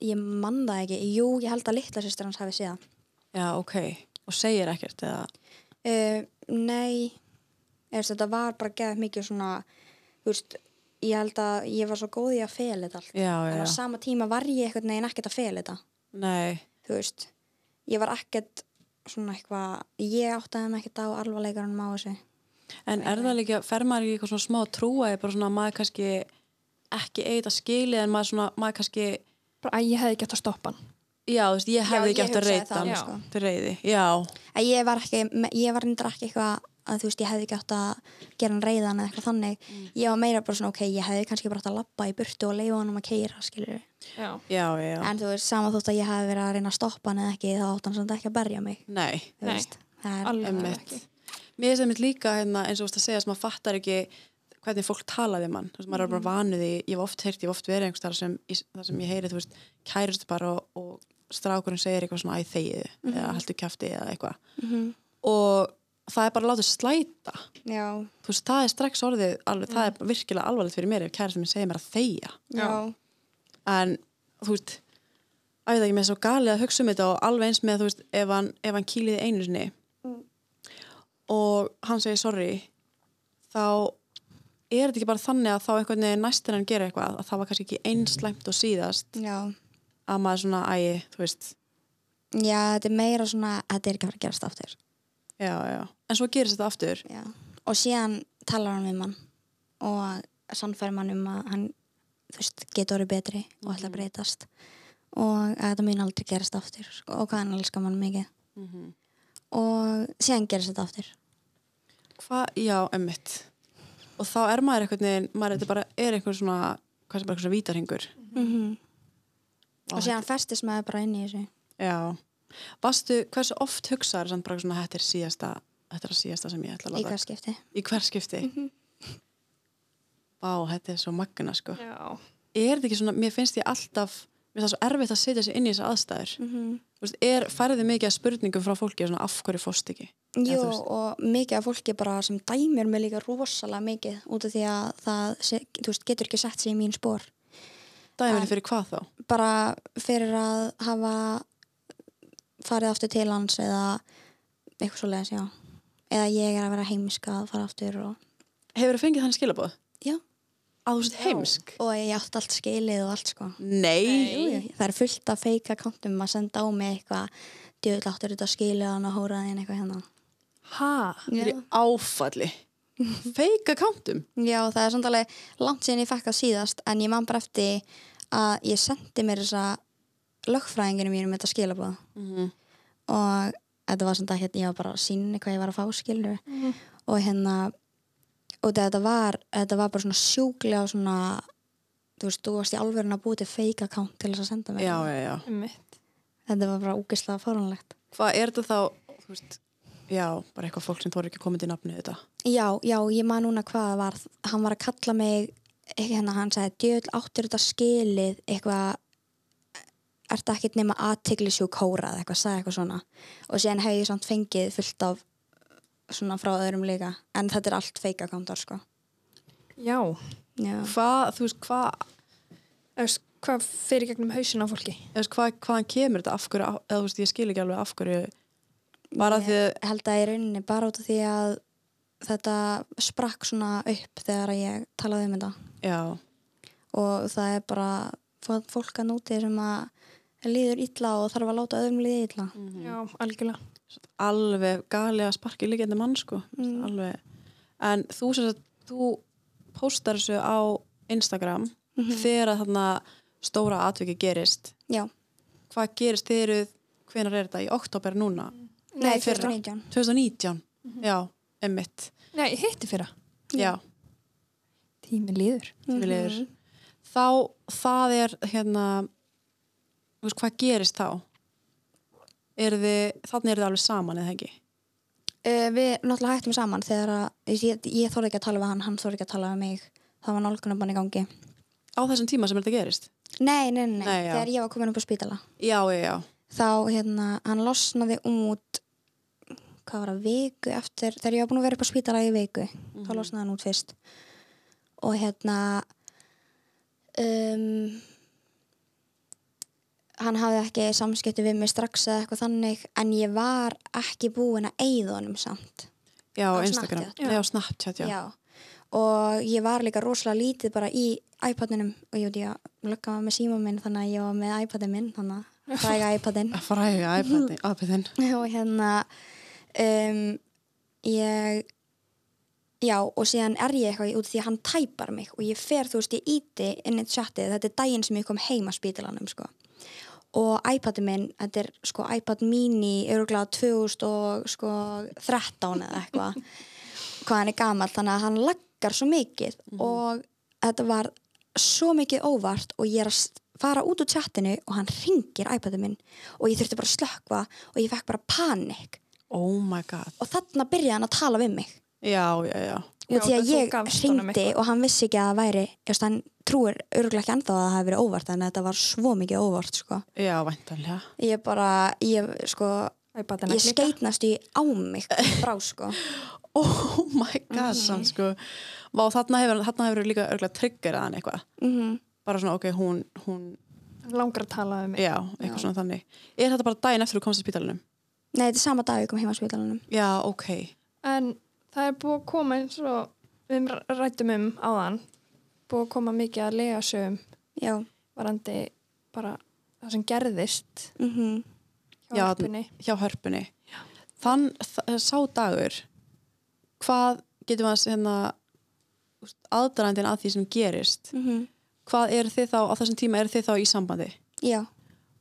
Speaker 3: ég man það ekki jú, ég held að litla sýstir hans hafi séð það
Speaker 1: Já, ok. Og segir ekkert, eða...
Speaker 3: Uh, nei, eða, þetta var bara geðað mikið svona, þú veist, ég held að ég var svo góð í að fela þetta allt.
Speaker 1: Já, já,
Speaker 3: En á
Speaker 1: já.
Speaker 3: sama tíma var ég eitthvað neginn ekkert að fela þetta,
Speaker 1: Nei,
Speaker 3: þú veist. Ég var ekkert svona eitthvað, ég áttaði mig ekkert á alvarleikarunum á þessu.
Speaker 1: en er það líka, fer maður ekki eitthvað svona smá trúa bara svona að maður kannski ekki eigið að skili en maður svona, maður kannski já,
Speaker 2: bara að ég hefði gett að stoppa hann
Speaker 1: þú veist, ég hefði
Speaker 3: Já,
Speaker 1: ekki
Speaker 3: ég
Speaker 1: átt að
Speaker 3: hugsaði
Speaker 1: reyta
Speaker 3: það,
Speaker 1: hann
Speaker 2: já.
Speaker 1: sko, til reyði, já,
Speaker 3: Að ég var ekki, ég var reyndar ekki eitthvað að þú veist, ég hefði ekki átt að gera hann reyðan eða eitthvað þannig. Ég var meira bara svona, ok, ég hefði kannski bara átt að labba í burtu og leifa hann um að keira, skilur
Speaker 2: já.
Speaker 1: já, já, já.
Speaker 3: En þú veist, sama þótt að ég hefði verið að reyna að stoppa hann eða ekki, þá átt hann samt ekki að berja mig.
Speaker 1: nei,
Speaker 3: þú
Speaker 2: Nei.
Speaker 3: veist, það er
Speaker 2: alveg
Speaker 1: Einmitt.
Speaker 2: ekki
Speaker 1: Mér finnst það mitt líka hérna, eins og þú veist að segja sem maður fattar ekki hvernig fólk talaði mann, þú veist, maður er bara vanuð í ég hef oft heyrt, ég hef oft verið einhvers þar sem í- þar sem ég heyri, þú veist, kærist bara og, og strákurinn segir eitthvað svona æ þegið eða heldur kjafti eða eitthvað
Speaker 3: Mhm.
Speaker 1: og það er bara að láta slæta
Speaker 3: já,
Speaker 1: þú veist, það er strax orðið alveg, það er virkilega alvarlegt fyrir mér ef kærist minn segir mér að þegja
Speaker 3: já,
Speaker 1: en þú veist að við það ekki með svo galið að hugsa um þetta og alveg eins með þú veist ef hann, ef hann kýliði einu sinni
Speaker 3: Mm.
Speaker 1: og hann segir sorry þá er þetta ekki bara þannig að þá einhvern veginn næstir hann gera eitthvað að það var kannski ekki einslæmt og síðast
Speaker 3: já.
Speaker 1: að maður svona ægi, þú veist
Speaker 3: Já, þetta er meira svona, þetta er ekki að fara að gerast aftur.
Speaker 1: já, já. en svo gerist þetta aftur
Speaker 3: Já. Og síðan talar hann við mann og sannfæri mann um að hann þú veist, getur orðið betri og
Speaker 1: Mhm.
Speaker 3: ætla að breytast og að þetta mun aldrei gerast aftur sko, og hvað hann elskar mann mikið.
Speaker 1: Mhm.
Speaker 3: Og síðan gerast þetta aftur.
Speaker 1: hvað, já, emmitt og þá er maður einhvern veginn maður þetta bara er einhvern svona hvað sem bara einhvern svona vítarhingur
Speaker 3: Og, síðan festist maður bara inn í þessu.
Speaker 1: Já, varstu, hversu oft hugsaður samt bara svona þetta er síðasta þetta er að síðasta sem ég ætla að
Speaker 3: Í Mhm.
Speaker 1: láta
Speaker 3: hvað skipti.
Speaker 1: í hver skipti Vá, þetta er svo magna sko
Speaker 2: Já.
Speaker 1: Er þetta ekki svona, mér finnst ég alltaf mér finnst það svo erfitt að setja sig inn í þessar aðstæður
Speaker 3: Mhm.
Speaker 1: mm -hmm. veist, er, færði mikið að spurningum frá fólki svona af hverju fóst ekki
Speaker 3: Jú,
Speaker 1: þú veist.
Speaker 3: og mikið af fólki bara sem dæmir mig líka rosalega mikið út af því að það se, þú veist, getur ekki sett sig í mín spór.
Speaker 1: Dæminu fyrir hvað þá?
Speaker 3: bara fyrir að hafa farið aftur til hans eða eitthvað svo leiðis, já eða ég er að vera heimiska að fara aftur og,
Speaker 1: Hefur þú fengið þannig skilabóð?
Speaker 3: já,
Speaker 1: Að þú sett heimsk?
Speaker 3: og ég átt allt skilið og allt sko
Speaker 1: Nei,
Speaker 3: Jú, jú, það er fullt af feika kantum að senda á mig eitthvað djöðl áttur þetta skilið hann og hóraðin eitthvað hérna
Speaker 1: ha, þetta er
Speaker 3: Já.
Speaker 1: áfalli Feika kantum
Speaker 3: Já, það er samt alveg langt síðan ég fekk það síðast en ég man bara eftir að ég sendi mér þessa lögfræðinginu mínum um þetta skilabóð
Speaker 1: Mhm.
Speaker 3: og þetta var samt að hérna, ég var bara að sína hvað ég var að fá skilur
Speaker 1: Mhm.
Speaker 3: og hérna og þetta var, þetta var bara svona sjúklega svona, þú veist, þú varst í alvörun að búið til fake account til þess að senda mér
Speaker 1: Já, já, já
Speaker 2: Einmitt.
Speaker 3: þetta var bara úkislega fórhannlegt
Speaker 1: Hvað er þetta þá, þú veist, já, bara eitthvað fólk sem þóra ekki komið til nafnið þetta.
Speaker 3: Já, já, ég man núna hvað það var hann var að kalla mig ekki hérna, hann sagði, djöðl áttur þetta skilið eitthvað ert ekkert nema aðtegli sjú kóra eða eitthvað, sagði eitthvað svona og síðan hef ég samt fengið fullt af svona frá öðrum líka, en þetta er allt feika kantar sko
Speaker 2: Já.
Speaker 3: já.
Speaker 1: Hvað, þú veist, hvað,
Speaker 2: Þú veist, Hvað fyrir gegnum hausin á fólki?
Speaker 1: þú veist, hvað, hvaðan kemur þetta af hverju, á- eða þú veist, ég skil ekki alveg af hverju, bara
Speaker 3: Ég
Speaker 1: því að,
Speaker 3: held að í rauninni bara út af því að þetta sprakk svona upp þegar ég talaði um þetta
Speaker 1: já,
Speaker 3: og það er bara fó- fólk að núti sem að líður illa og þarf að láta öðrum líði illa
Speaker 2: Já, algjörlega.
Speaker 1: alveg galið að sparki líkjandi mann, sko, alveg. En þú sem sagt, þú póstar þessu á Instagram þegar að þarna stóra atviki gerist.
Speaker 3: já,
Speaker 1: Hvað gerist þeir eru, hvenar er þetta, í oktober núna?
Speaker 3: nei,
Speaker 1: í fyrra.
Speaker 3: 2019
Speaker 1: 2019, já, emmitt,
Speaker 2: Nei, hitti fyrra.
Speaker 1: já.
Speaker 2: Tíminn líður.
Speaker 1: tímilegur þá það er hérna þú veist, hvað gerist þá er þið þannig er þið alveg saman eða ekki
Speaker 3: uh, við náttúrulega hættum saman þegar að, ég, ég þóri ekki að tala við hann hann þóri ekki að tala við mig það var nálgunabann í gangi
Speaker 1: á þessum tíma sem þetta gerist
Speaker 3: nei, nei, nei, nei,
Speaker 1: Nei, já.
Speaker 3: þegar ég var komin upp á spítala
Speaker 1: já, já, já,
Speaker 3: þá hérna, hann losnaði út hvað var að viku eftir, þegar ég var búin að vera upp á spítala í viku þá losnaði hann út fyrst og hérna um, hann hafði ekki samskipti við mig strax eða eitthvað þannig en ég var ekki búin að eyða honum samt
Speaker 1: já
Speaker 3: Á
Speaker 1: Instagram,
Speaker 3: Snapchat.
Speaker 1: já, já Snapchat já. Já.
Speaker 3: og ég var líka rosalega lítið bara í iPadinum og ég veit ég að lögga með síma minn þannig að ég var með iPadin minn þannig að fræga iPadin
Speaker 1: að fara í iPadin, iPadin.
Speaker 3: og hérna um, ég já og síðan er ég eitthvað út af því að hann tæpar mig og ég fer þú veist ég íti inn í chatið þetta er daginn sem ég kom heim að spítalanum sko og iPadin minn, þetta er sko iPad mini öruglega 2013 sko, eða eitthvað hvað hann er gamall, þannig að hann laggar svo mikið og þetta var svo mikið óvart og ég er að s- fara út úr chatinu og hann ringir iPadin minn og ég þurfti bara að slökva og ég fekk bara panik
Speaker 1: oh my god
Speaker 3: og þarna byrjaði hann að tala við mig
Speaker 1: já, já, já
Speaker 3: Jú,
Speaker 2: Já,
Speaker 3: því að
Speaker 2: þú
Speaker 3: ég
Speaker 2: gafst honum
Speaker 3: hringdi og hann vissi ekki að það væri just, hann trúir örgulega ekki ennþá að það hafi verið óvart þannig að þetta var svo mikið óvart sko.
Speaker 1: já, væntanlega
Speaker 3: ég bara, ég sko
Speaker 2: Æ, bara þennan
Speaker 3: ég
Speaker 2: klika.
Speaker 3: skeitnast í á mig frá sko
Speaker 1: oh my god, samt sko Vá, þarna hefur, þarna hefur líka örgulega triggerað hann eitthvað
Speaker 3: mm
Speaker 1: bara svona, ok, hún, hún
Speaker 2: Langar að tala um mig.
Speaker 1: já, eitthvað svona þannig er þetta bara daginn eftir þú komst að spítalunum?
Speaker 3: nei, þetta er sama dag ég kom heim á spítalunum
Speaker 1: já, ok,
Speaker 2: En það er búið að koma eins og við r- ræddum um áðan. Búið að koma mikið að lega sögum
Speaker 3: já,
Speaker 2: varandi bara það sem gerðist
Speaker 3: mhm
Speaker 2: hjá
Speaker 1: Já,
Speaker 2: hjálpunni.
Speaker 1: hjá hörpunni þann, þa- sá dagur hvað getum við að hérna, aðdraðandinn að því sem gerist
Speaker 3: mhm
Speaker 1: hvað eru þið þá, á þessum tíma eru þið þá í sambandi
Speaker 3: já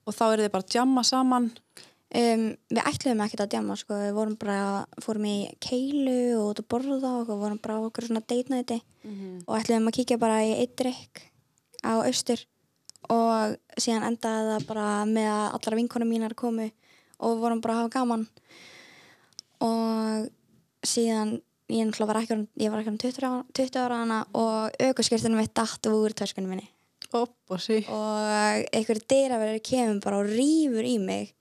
Speaker 1: og þá eru þið bara að djamma saman
Speaker 3: Um, við ætluðum ekkert að djama sko. við vorum bara, fórum í keilu og út að borða og okkur, vorum bara á okkur svona date nighti og ætluðum að kíkja bara í eitt drikk á austur og síðan endaði það bara með að allra vinkonum mínar komu og við vorum bara að hafa gaman og síðan ég náttúrulega var ekki orðin- ég var ekki um 20 ára, 20 ára hana og aukurskirtunum mitt datt úr törskunum minni
Speaker 1: upp og sí
Speaker 3: og einhverju dyraverður kemur bara og rýfur í mig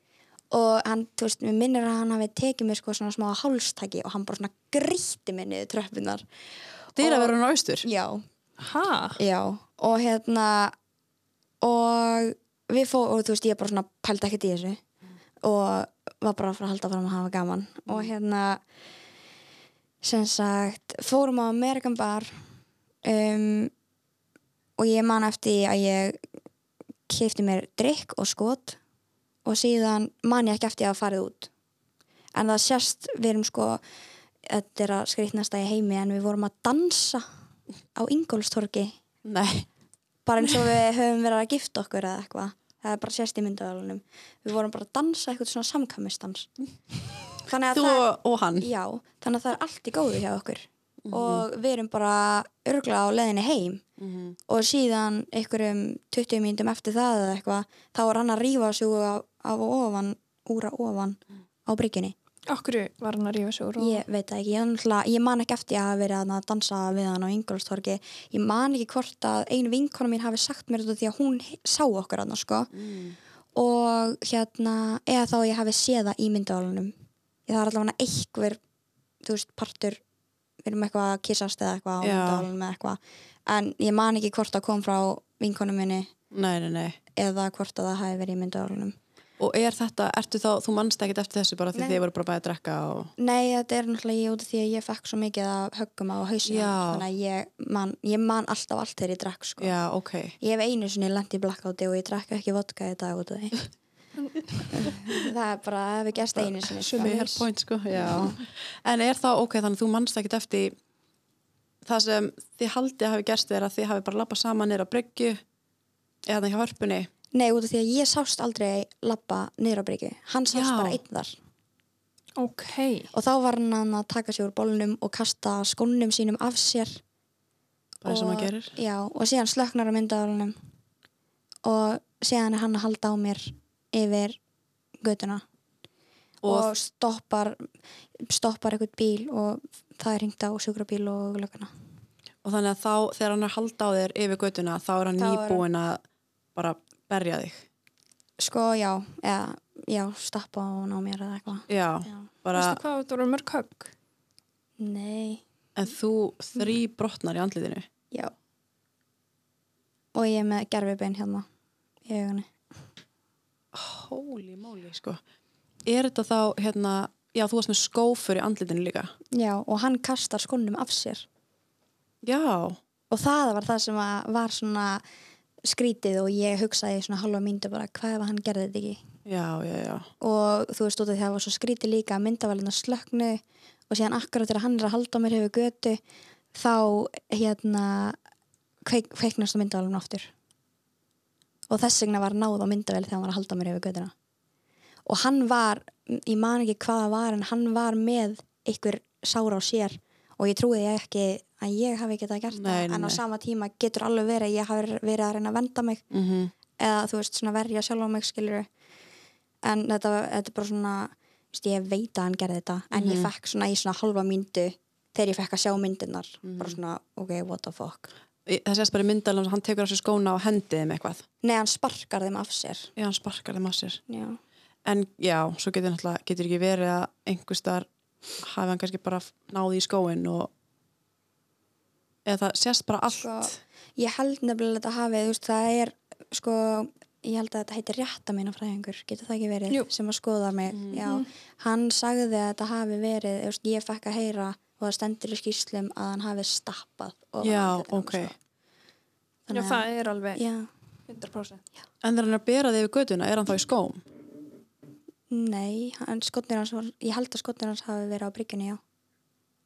Speaker 3: og hann, þú veist, mér minnir að hann hafi tekið mér sko svona smá hálstaki og hann bara svona grýtti mér niður tröppunar
Speaker 1: dýra verður hann á austur
Speaker 3: já,
Speaker 2: Hæ?
Speaker 3: já og hérna og við fó og þú veist, ég bara svona pældi ekkert í þessu og var bara að fara að halda fram að hafa gaman og hérna sem sagt, fórum á Amerikan bar um, og ég man eftir því að ég kefti mér drikk og skot og síðan man ég ekki eftir því að hafa farið út en það sérst, við erum sko þetta er að skrýtnasta í heimi en við vorum að dansa á Ingolstorgi
Speaker 1: nei,
Speaker 3: bara eins og við höfum verið að gifta okkur eða eitthvað það er bara sérst í myndaðalunum við vorum bara að dansa eitthvað svona samkvæmistans þannig að
Speaker 1: þú
Speaker 3: það
Speaker 1: og hann
Speaker 3: já, þannig að það er allt í góðu hjá okkur
Speaker 1: Mhm.
Speaker 3: og við erum bara örgla á leðinni heim og síðan einhverjum 20 mínutum eftir það eða eitthvað þá var hann að rífa sig af, af ofan úr að ofan á bryggjunni
Speaker 2: Okkur var hann að rífa sig úr og
Speaker 3: Ég veit það ekki, ég, náttúrulega- ég man ekki eftir að hafa verið þarna að dansa við hann á Ingolstorgi Ég man ekki hvort að einu vinkona mín hafi sagt mér þetta því að hún he- sá okkur hann sko. og hérna, eða þá ég hafi séð það í myndaválunum Ég það er allavega einhver, þú veist, partur við erum eitthvað að kissast eða eitthvað á
Speaker 1: Já.
Speaker 3: myndaválunum eða eitthvað en ég man ekki hvort að kom frá vinkonu minni
Speaker 1: nei, nei, nei
Speaker 3: eða hvort að það hafi verið í myndaválunum
Speaker 1: og er þetta, ertu þá, þú mannst ekkert eftir þessu bara því
Speaker 3: Nei.
Speaker 1: þið voru bara bæði að drekka og
Speaker 3: Nei, þetta er náttúrulega ég út af því að ég fekk svo mikið að höggum á hausinu
Speaker 1: Já.
Speaker 3: þannig að ég man, ég man alltaf allt þegar ég drakk sko.
Speaker 1: já, ok,
Speaker 3: Ég hef einu sinni lent í blackouti og ég drakk ekki vodka í dag út af því Það er bara, það hefur gerst einu sinni sko.
Speaker 1: fair point sko já. en er þá, ok, þannig að þú mannst ekkert eftir það sem þið haldið að hafi gerst þér að þið hafi bara labbað saman nýra bryggju eða þannig hjá hörpunni
Speaker 3: Nei, út af því að ég sást aldrei labba niður á bryggju Hann sást
Speaker 1: Já.
Speaker 3: bara einn þar
Speaker 2: ok,
Speaker 3: Og þá var hann að taka sig úr bólnum og kasta skónum sínum af sér
Speaker 1: bara eins og maður
Speaker 3: Og-
Speaker 1: gerir
Speaker 3: Já, og síðan slöknar á myndaválunum og síðan er hann að halda á mér yfir göduna og,
Speaker 1: og,
Speaker 3: stoppar stoppar eitthvað bíl og það er hengt á sjúkrabíl og löguna
Speaker 1: og þannig að þá, þegar hann er að halda á þér yfir göttuna, þá er hann
Speaker 3: Þá er-
Speaker 1: nýbúin að bara berja þig
Speaker 3: Sko, já, eða, já, stoppa hann á mér eða eitthvað
Speaker 1: já,
Speaker 3: Já.
Speaker 1: bara,
Speaker 2: veistu hvað þetta voru mörg högg?
Speaker 3: Nei,
Speaker 1: en þú þrý brotnar í andliðinu
Speaker 3: já Og ég er með gerfibein hérna í augunni
Speaker 1: Holy moly, sko. Er þetta þá, hérna, já, þú varst með skófur í andlitinu líka.
Speaker 3: Já, og hann kastar skónum af sér
Speaker 1: Já,
Speaker 3: og það var það sem að var svona skrítið og ég hugsaði í svona halva myndu bara hvað ef hann gerði þetta ekki
Speaker 1: já, já, já.
Speaker 3: og þú veist út af því að það var svo skrítið líka að myndavælina slöknu og síðan akkurat þegar hann er að halda á mér hefur götu þá hérna kveik, kveiknast á myndavælinu aftur og þess vegna var náð á myndavæli þegar hann var að halda á mér hefur götuna og hann var, ég man ekki hvað það var en hann var með einhver sára á sér og ég trúi ég ekki að ég hafi getað gert
Speaker 1: Nei, nei,
Speaker 3: það en á
Speaker 1: nei.
Speaker 3: sama tíma getur alveg verið að ég hafi verið að reyna að venda mig
Speaker 1: Mm
Speaker 3: eða þú veist svona verja sjálf á mig skilur en þetta, þetta er bara svona þú veist, ég veit að hann gerði þetta en ég fekk svona í svona halva myndu þegar ég fekk að sjá myndirnar bara svona, ok, what the fuck
Speaker 1: Í- Það sést bara í myndalum að hann tekur á sig skóna og hendið þeim eitthvað.
Speaker 3: Nei, hann sparkar þeim af sér
Speaker 1: Já, hann sparkar þeim að sér.
Speaker 3: Já,
Speaker 1: En já, svo getur náttúrulega, getur ekki verið að einhver staðar hafi hann kannski bara náði í skóin og eða það sést bara allt.
Speaker 3: sko, ég held nefnilega að þetta hafi, þú veist, það er sko, ég held að þetta heitir rétta mína fræðingur, getur það ekki verið
Speaker 2: Jú.
Speaker 3: sem að skoða mig, já, hann sagði að þetta hafi verið, þú veist, ég fekk að heyra og það stendur í skýslum að hann hafi stappað ofan
Speaker 1: Já,
Speaker 3: á andlitið á
Speaker 1: ok.
Speaker 3: mér, sko.
Speaker 2: Já,
Speaker 3: Þannig að-
Speaker 2: það er alveg
Speaker 3: Já,
Speaker 2: 100%.
Speaker 1: En þegar hann er að bera þig yfir göduna, er hann þá í skóm?
Speaker 3: nei, hann, skotnir hans var, ég held að skotnir hans hafi verið á bryggjunni, já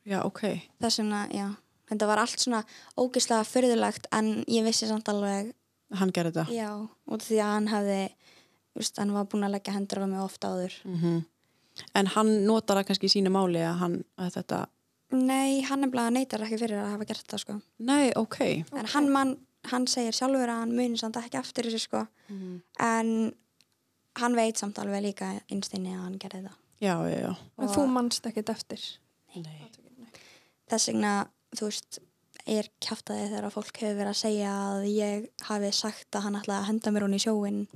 Speaker 1: Já, ok.
Speaker 3: þess vegna, já, þetta var allt svona ógislega fyrðulegt en ég vissi samt alveg
Speaker 1: Hann gerir þetta.
Speaker 3: Já, út af því að hann hafði Vist, hann var búin að leggja hendur á mig ofta áður
Speaker 1: Mhm. En hann notar það kannski í sínu máli að hann, að þetta,
Speaker 3: Nei, hann er bara neytar ekki fyrir að hafa gert það sko.
Speaker 1: nei, ok.
Speaker 3: En hann, man, hann segir sjálfur að hann muni samt ekki eftir þessu sko. En hann veit samt alveg líka einstinni að hann gerði það
Speaker 1: Já, já, já.
Speaker 2: En þú manst ekkert eftir.
Speaker 1: Nei.
Speaker 3: Þess vegna, þú veist er kjáftaði þegar fólk hefur verið að segja að ég hafi sagt að hann ætlaði að henda mér hún í sjóin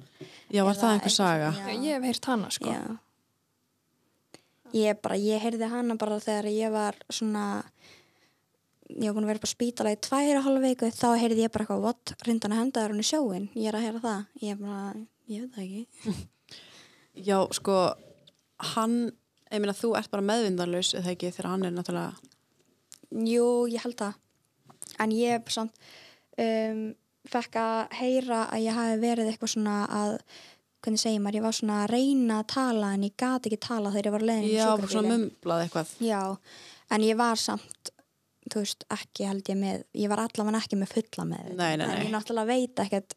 Speaker 1: Já, var það
Speaker 3: Eða eitthvað
Speaker 1: einhver saga?
Speaker 3: svona,
Speaker 2: Já, ég hef heyrt hana, sko.
Speaker 3: Já. Ég bara, ég heyrði hana bara þegar ég var svona ég var búin að vera bara spítala í tvær og hálfa viku þá heyrði ég bara eitthvað, what, rindan að henda þér hún í sjóin ég er að heyra það, ég er bara ég veit það ekki,
Speaker 1: Já, sko, hann, ég meina, þú ert bara meðvindanlaus, eða ekki, þegar hann er náttúrulega,
Speaker 3: jú, ég held það en ég er samt um, fekk að heyra að ég hafi verið eitthvað svona að hvernig segir maður, ég var svona að reyna að tala en ég gat ekki tala þegar ég var leðin
Speaker 1: já, svona mumblað eitthvað.
Speaker 3: Já, en ég var samt þú veist, ekki held ég með ég var allavega ekki með fulla með
Speaker 1: Nei, nei,
Speaker 3: en
Speaker 1: nei.
Speaker 3: ég náttúrulega veit ekkert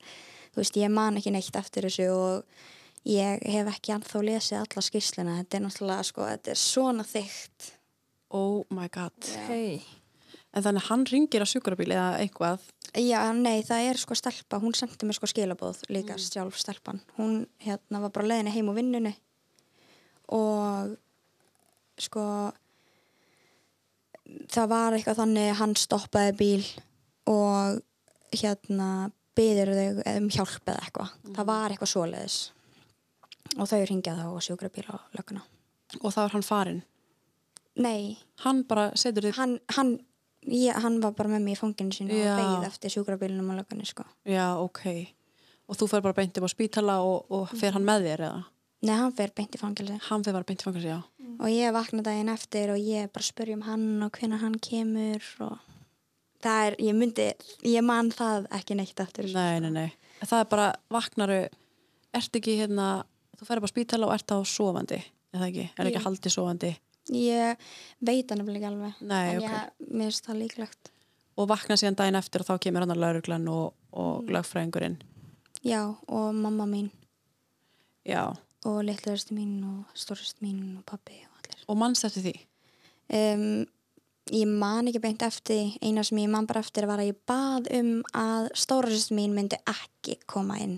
Speaker 3: þú veist, ég man ekki neitt eftir þessu og ég hef ekki anþá lesið alla skýrsluna, þetta er náttúrulega sko, þetta er svona þygt
Speaker 1: Oh my god.
Speaker 2: Hei.
Speaker 1: En þannig að hann ringir á sjúkrabíl eða eitthvað
Speaker 3: Já, nei, það er sko stelpa, hún sendi mér sko skilabóð líka sjálf stelpan hún hérna var bara á leiðinni heim úr vinnunni og sko það var eitthvað þannig hann stoppaði bíl og hérna byður þau um hjálp eða eitthvað það var eitthvað svoleiðis og þau ringja þá og sjúkra bíl á lögguna
Speaker 1: og þá er hann farinn.
Speaker 3: Nei,
Speaker 1: Hann bara setur þig,
Speaker 3: hann, hann, ég, hann var bara með mig í fanginu sínu
Speaker 1: Já.
Speaker 3: og beigð eftir sjúkra bílunum á löggunni sko
Speaker 1: já, ok. Og þú fer bara beint upp á spítala og, og fer hann með þér eða?
Speaker 3: Nei, hann fer beint í fangelsi
Speaker 1: Hann fer bara beint í fangelsi, já.
Speaker 3: og ég vakna daginn eftir og ég bara spurði um hann og hvenær hann kemur og það er, ég myndi, ég man það ekki neitt eftir. þessu.
Speaker 1: Nei, nei, nei. Það er bara, vaknaru, ert ekki hérna, þú færi bara á spítala og ert á sofandi, eða ekki? Er ekki
Speaker 2: Jú.
Speaker 1: haldið sofandi?
Speaker 3: Ég veit hann nefnilega ekki alveg.
Speaker 1: Nei,
Speaker 3: en
Speaker 1: ok.
Speaker 3: ég, mér finnst það líklegt.
Speaker 1: Og vakna síðan daginn eftir og þá kemur hann að lauruglan og, og lögfræðingurinn.
Speaker 3: Já, og mamma mín
Speaker 1: Já,
Speaker 3: og litluðurstu mín og stórstu mín og pappi og allir.
Speaker 1: og manns eftir því.
Speaker 3: Um, ég man ekki beint eftir, eina sem ég man bara eftir var að ég bað um að stórstu mín myndi ekki koma inn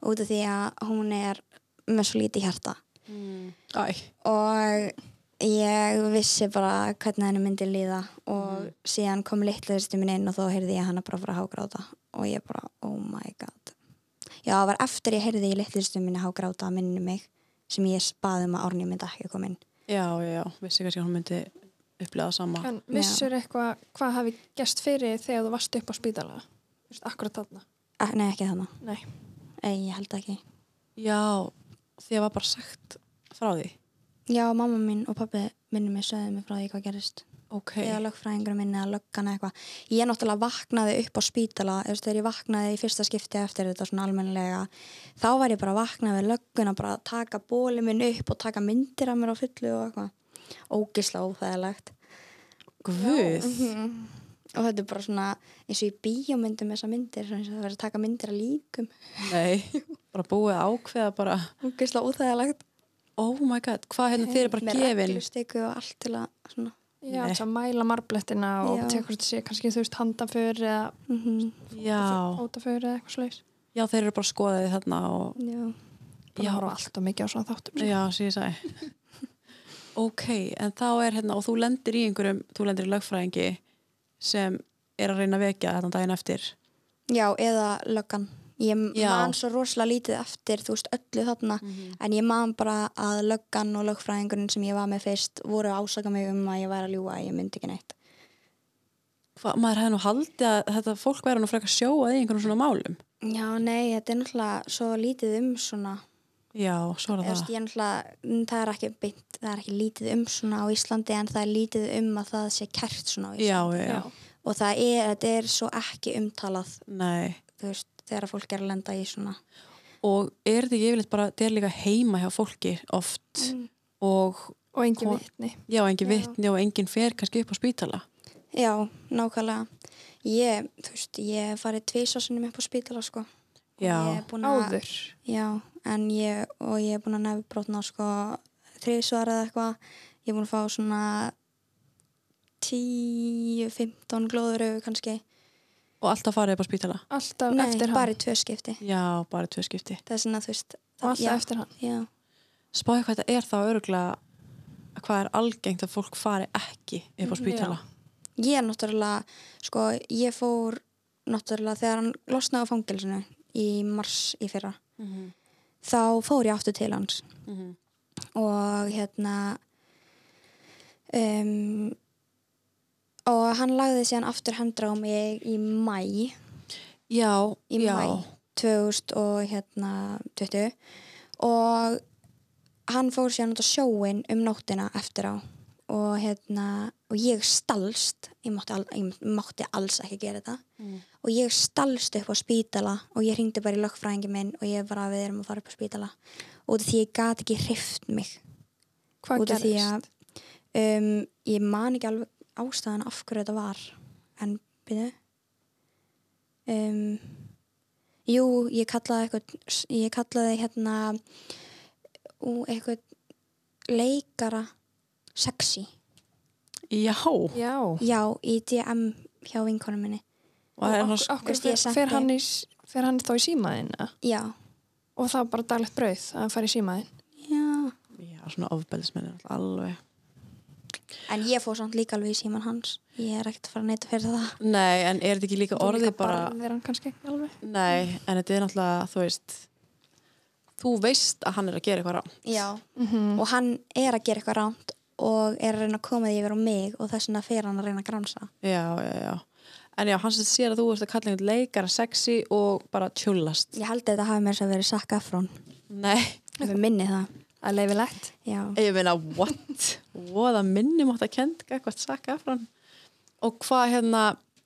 Speaker 3: út af því að hún er með svo lítið hjarta.
Speaker 1: Æ,
Speaker 3: og ég vissi bara hvernig henni myndi líða og síðan kom litla sýstu mín inn og þá heyrði ég hana bara fara að hágráta og ég bara, oh my god já, það var eftir ég heyrði ég litla sýstu mín hágráta að minni mig sem ég spaði um að Árni myndi ekki koma inn
Speaker 1: já, já, já, vissi kannski að hún myndi upplega það sama.
Speaker 2: En vissur eitthvað hvað hafi gæst fyrir þegar þú varst upp á spítala? Þú veist, akkurat þarna.
Speaker 3: Eh, nei, ekki þannig,
Speaker 2: Nei.
Speaker 3: ég held ekki
Speaker 1: Já, því að var bara sagt frá því.
Speaker 3: já, mamma mín og pappi minni mig sögðu mig frá því hvað gerist
Speaker 1: Ok,
Speaker 3: eða lögfræðingur minn eða löggan eða eitthvað ég náttúrulega vaknaði upp á spítala þú veist, þegar ég vaknaði í fyrsta skipti eftir þetta svona almennilega þá var ég bara að vakna við lögguna bara að taka bóli minn upp og taka myndir af mér á fullu og eitthvað ógisla óþægilegt
Speaker 1: guð.
Speaker 3: Mhm. og þetta er bara svona eins og í bíómyndum þessar myndir svona eins og það verður að taka myndir að líkum
Speaker 1: Nei, bara búið að ákveða bara,
Speaker 3: ógisla óþægilegt
Speaker 1: oh my god, hvað hérna þeir eru bara
Speaker 3: með
Speaker 1: gefin?
Speaker 3: reglustiku og allt til að svona
Speaker 2: Já,
Speaker 1: Nei.
Speaker 2: þess að mæla marblettina og
Speaker 3: Já.
Speaker 2: tekur þetta sé kannski, þú veist, handaför eða
Speaker 3: mm
Speaker 1: Já,
Speaker 2: ótaför eða eitthvað slags.
Speaker 1: já, þeir eru bara skoðaði þarna og
Speaker 3: já
Speaker 2: Búin
Speaker 1: Já.
Speaker 2: sko. að horfa alltaf mikið á svona þáttum.
Speaker 1: Já, sem ég sagði ok, en þá er hérna og þú lendir í einhverjum, þú lendir í lögfræðingi sem er að reyna að vekja þetta daginn eftir
Speaker 3: Já, eða löggan. Ég
Speaker 1: Já.
Speaker 3: man svo rosalega lítið eftir, þú veist, öllu þarna, en ég man bara að löggan og lögfræðingurinn sem ég var með fyrst voru að ásaka mig um að ég væri að ljúga, ég myndi ekki neitt.
Speaker 1: Hva, maður hefði nú haldið að þetta fólk væri nú frekar sjóað í einhverjum svona málum
Speaker 3: Já, nei, þetta er náttúrulega svo lítið um svona,
Speaker 1: já, svo er
Speaker 3: Eða, þú
Speaker 1: það
Speaker 3: veist, ég er náttúrulega, mm, það er ekki beint, það er ekki lítið um svona á Íslandi, en það er lítið um að það sé kært svona á Íslandi.
Speaker 1: já, já, já,
Speaker 3: Og það er, þetta er svo ekki umtalað,
Speaker 1: nei
Speaker 3: þú veist, þegar fólk er að lenda í svona.
Speaker 1: og er þetta ekki yfirleitt bara, þetta er líka heima hjá fólki oft og
Speaker 2: Og engin
Speaker 1: Kon-
Speaker 2: vitni.
Speaker 1: Mm. já, engin vitni og engin fer kannski upp á spítala
Speaker 3: Já, nákvæmlega. Ég, þú veist, ég hef farið tvísásunum upp á spítala, sko. Ég
Speaker 1: já,
Speaker 3: er búin að-
Speaker 2: Áður.
Speaker 3: Já, en ég, og ég hef búin að nefnbrotna, sko, þriðsvara eða eitthvað. Ég er búin að fá svona 10-15 glóður auðu kannski.
Speaker 1: og alltaf farið upp á spítala
Speaker 2: Alltaf
Speaker 3: Nei,
Speaker 2: eftir hann.
Speaker 3: bara í tvö skipti.
Speaker 1: já, bara í tvö skipti
Speaker 3: Það er svona, þú veist,
Speaker 2: Og alltaf
Speaker 3: já,
Speaker 2: eftir hann.
Speaker 3: já.
Speaker 1: spáði hvað þetta er þá öruglega hvað er algengt að fólk fari ekki upp á spítala
Speaker 3: Ég er náttúrulega, sko, ég fór náttúrulega þegar hann losnaði á fangilsinu í mars í fyrra.
Speaker 1: Mhm.
Speaker 3: Þá fór ég aftur til hans. og hérna um, og hann lagði síðan aftur hendra á mig í mæ
Speaker 1: já,
Speaker 3: í
Speaker 1: já,
Speaker 3: mæ 2000 og hérna 20 og hann fór síðan út á sjóin um nóttina eftir á og hérna og ég stalst ég mátti, al, ég mátti alls ekki gera þetta og ég stalst upp á spítala og ég hringdi bara í lögfræðingi minn og ég var að við erum að fara upp á spítala út af því ég gat ekki hrift mig
Speaker 2: Hvað
Speaker 3: út af því
Speaker 2: gerist?
Speaker 3: að um, ég man ekki alveg ástæðan af hverju þetta var en byrju um, jú, ég kallaði eitthvað, ég kallaði hérna ú, eitthvað leikara sexy,
Speaker 1: já
Speaker 2: Já.
Speaker 3: já, í DM hjá vinkonu minni,
Speaker 1: og það er
Speaker 2: Og
Speaker 1: hans
Speaker 2: okkur
Speaker 3: Veist, ég
Speaker 2: fer,
Speaker 3: sendi-
Speaker 2: fer, hann í, s- fer hann þá í símaðina
Speaker 3: já
Speaker 2: og það er bara daglegt brauð að hann fari í símaðin.
Speaker 3: já,
Speaker 1: já, svona ofbeldismenn er alveg
Speaker 3: en ég fór samt líka alveg í síman hans, ég er ekkert að fara að neyta fyrir það
Speaker 1: nei, en er þetta ekki líka orðið bara
Speaker 2: Verður hann kannski ekki alveg.
Speaker 1: nei, en þetta er náttúrulega, þú veist þú veist að hann er að gera eitthvað rám
Speaker 3: já, og hann er að gera eitthvað rámt og er að reyna að koma því yfir á mig og þess vegna fer hann að reyna að gránsa
Speaker 1: já, já, já en já, hann sem sér að þú ert að kalla einhvern leikara sexy og bara tjúllast
Speaker 3: Ég held að þetta hafi mér sem verið Zac Efron
Speaker 1: nei,
Speaker 3: Ef ég minni það
Speaker 2: Að leifilegt.
Speaker 3: Já,
Speaker 1: ég meina, what voða minni mátt að kenda eitthvað sakka frá hann og hvað hérna,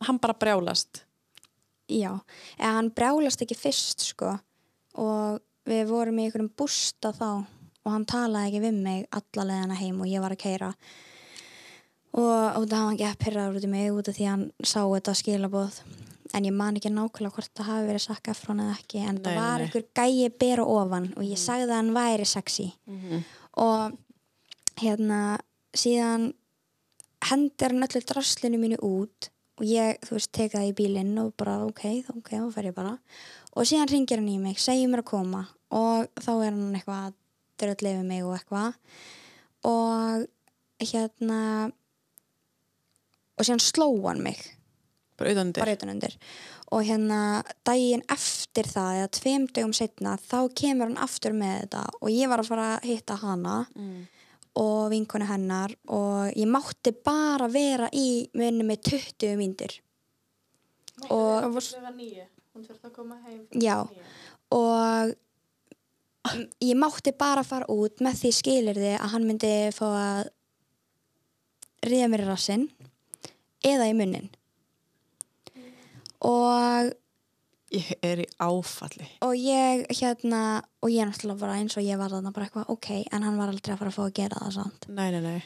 Speaker 1: hann bara brjálast
Speaker 3: já En hann brjálast ekki fyrst sko Og við vorum í einhverjum bústa þá Og hann talaði ekki við mig alla leiðina heim og ég var að keira Og, og það var ekki að pyrraður út í mig út af því að hann sá þetta skilaboð En ég man ekki nákvæmlega hvort það hafi verið Zac Efron eða ekki En
Speaker 1: Nei,
Speaker 3: það
Speaker 1: nei,
Speaker 3: var
Speaker 1: nei.
Speaker 3: einhver gæi bera ofan Og ég sagði að hann væri sexy
Speaker 1: Mhm.
Speaker 3: og hérna síðan hendir hann öllu draslinu mínu út og ég, þú veist, teka það í bílinn og bara ok, þá- ok, þá fer ég bara og síðan ringir hann í mig, segir mér að koma og þá er hann eitthvað að drölla yfir mig og eitthvað og hérna og síðan sló hann mig
Speaker 1: bara utan
Speaker 3: bara
Speaker 1: þér
Speaker 3: utan undir og hérna daginn eftir það eða tveim dögum setna þá kemur hann aftur með þetta og ég var að fara að hitta hana og vinkonu hennar og ég mátti bara vera í munni með 20 myndir og
Speaker 2: Það var
Speaker 3: já og m- ég mátti bara fara út með því skilir þið að hann myndi fá að ríða mér í rassinn eða í munnin og
Speaker 1: ég er í áfalli
Speaker 3: og ég hérna og ég náttúrulega bara eins og ég var þarna bara eitthvað ok, en hann var aldrei að fara að fá að gera það samt
Speaker 1: nei, nei, nei,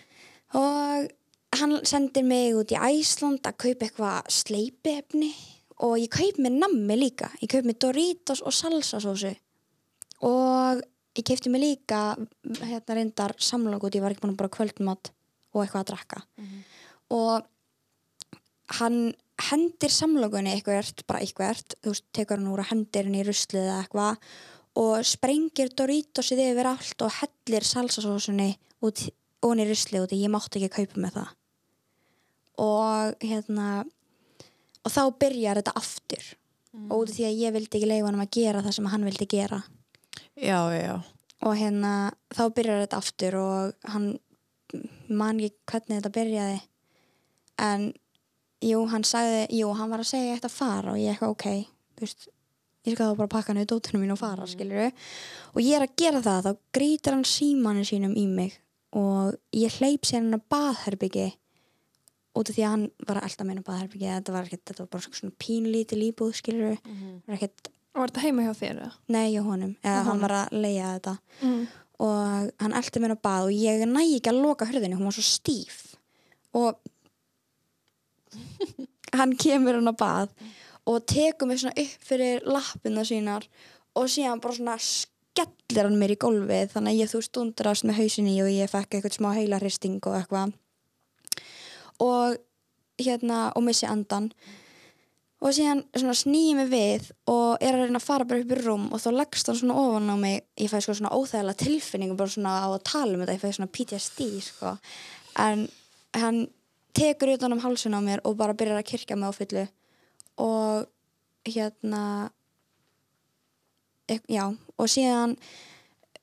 Speaker 3: og hann sendir mig út í Æsland að kaupa eitthvað sleipefni og ég kaup mér nammi líka ég kaup mér Doritos og salsasósu og ég keipti mér líka hérna reyndar samlokk út, ég var ekki búin að bara kvöldmátt og eitthvað að drakka og hann hendir samlokunni eitthvað, bara eitthvað þú veist, tekur hann úr að hendir hann í ruslið eða eitthvað og sprengir Doritosið yfir allt og hellir salsasósunni út, og í rusli út ég mátti ekki kaupa með það og hérna og þá byrjar þetta aftur og út af því að ég vildi ekki leifa hann að gera það sem hann vildi gera
Speaker 1: já, já,
Speaker 3: og hérna þá byrjar þetta aftur og hann man ekki hvernig þetta byrjaði en jú, hann sagði, jú, hann var að segja ég ætti að fara og ég eitthvað ok þú veist, ég skal þá bara pakka hann í dótunum mín og fara, mm. og ég er að gera það, þá grítir hann símanu sínum í mig og ég hleyp sér hann að baðherbyggi út af því að hann var að elda meina baðherbyggi, þetta var ekkert, þetta var bara svona pínlítil íbúð, skilur við var ekkert,
Speaker 2: Var þetta heima hjá þér? eða?
Speaker 3: nei, Mhm. hjá honum eða hann var að leia þetta
Speaker 2: Mm.
Speaker 3: og hann eldi mér á bað og ég næ ekki að loka hörðinu, hún var svo stíf og hann kemur hann á bað og tekur mig svona upp fyrir lappina sínar og síðan bara svona skellir hann mér í gólfið þannig að ég þú stundrast með hausinni og ég fekk eitthvað smá heilaristing og eitthvað og hérna og missi andan og síðan svona snýi mig við og er að reyna að fara bara upp í rúm og þá leggst hann svona ofan á mig ég fæði sko svona óþægilega tilfinningu bara svona á að tala um þetta, ég fæði svona PTSD sko. en hann tekur utan um hálsun á mér og bara byrjar að kirkja mig á fullu og hérna e- já, og síðan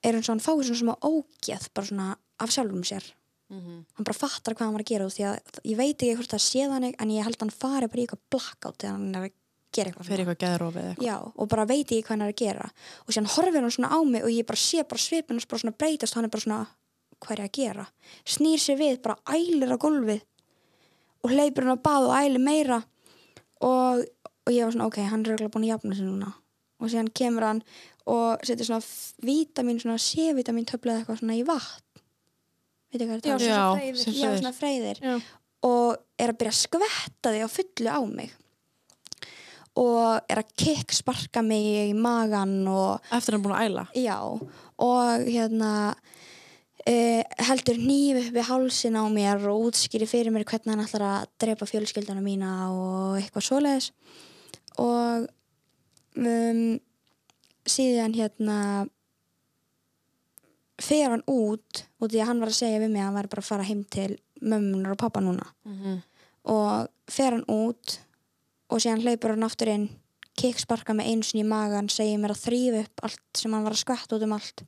Speaker 3: er hann svona fáið svona smá ógeð bara svona af sjálfum sér
Speaker 1: Mhm.
Speaker 3: hann bara fattar hvað hann var að gera út því að ég veit ekki hvort það sé þannig en ég held að hann fari bara í eitthvað blackout þegar hann er að gera eitthvað
Speaker 1: fyrir eitthvað geðrófið eitthvað.
Speaker 3: Já, og bara veit ekki hvað hann er að gera og síðan horfir hann svona á mig og ég bara sé bara svipin hans bara svona breytast og hann er bara svona hvað er ég að gera? Snýr sér við, bara ælir á gólfið og hleypir hann á bað og ælir meira og, og ég var svona ok, hann er örugglega búinn að jafna sig núna og síðan kemur hann og setur svona vítamin, svona C-vítamin töflu eða eitthvað svona í vatn veit ekki
Speaker 2: Já,
Speaker 3: hvað þetta
Speaker 2: svona
Speaker 1: Já,
Speaker 2: fræðir.
Speaker 1: sem
Speaker 3: Já,
Speaker 1: segir.
Speaker 3: svona freyðir
Speaker 2: Já.
Speaker 3: og er að byrja að skvetta því á fullu á mig og er að kikk sparka mig í magan og
Speaker 1: Eftir hann búin að æla.
Speaker 3: já og hérna Uh, heldur nýf upp við hálsin á mér og útskýri fyrir mér hvernig hann ætlar að drepa fjölskyldana mína og eitthvað svoleiðis og um, síðan hérna fer hann út út í að hann var að segja við mig að hann var bara að fara heim til mömmunar og pappa núna
Speaker 1: Mhm.
Speaker 3: og fer hann út og síðan hleypur hann aftur inn kicksparka með einu sinni í magan segir mér að þrýfa upp allt sem hann var að skvætta út um allt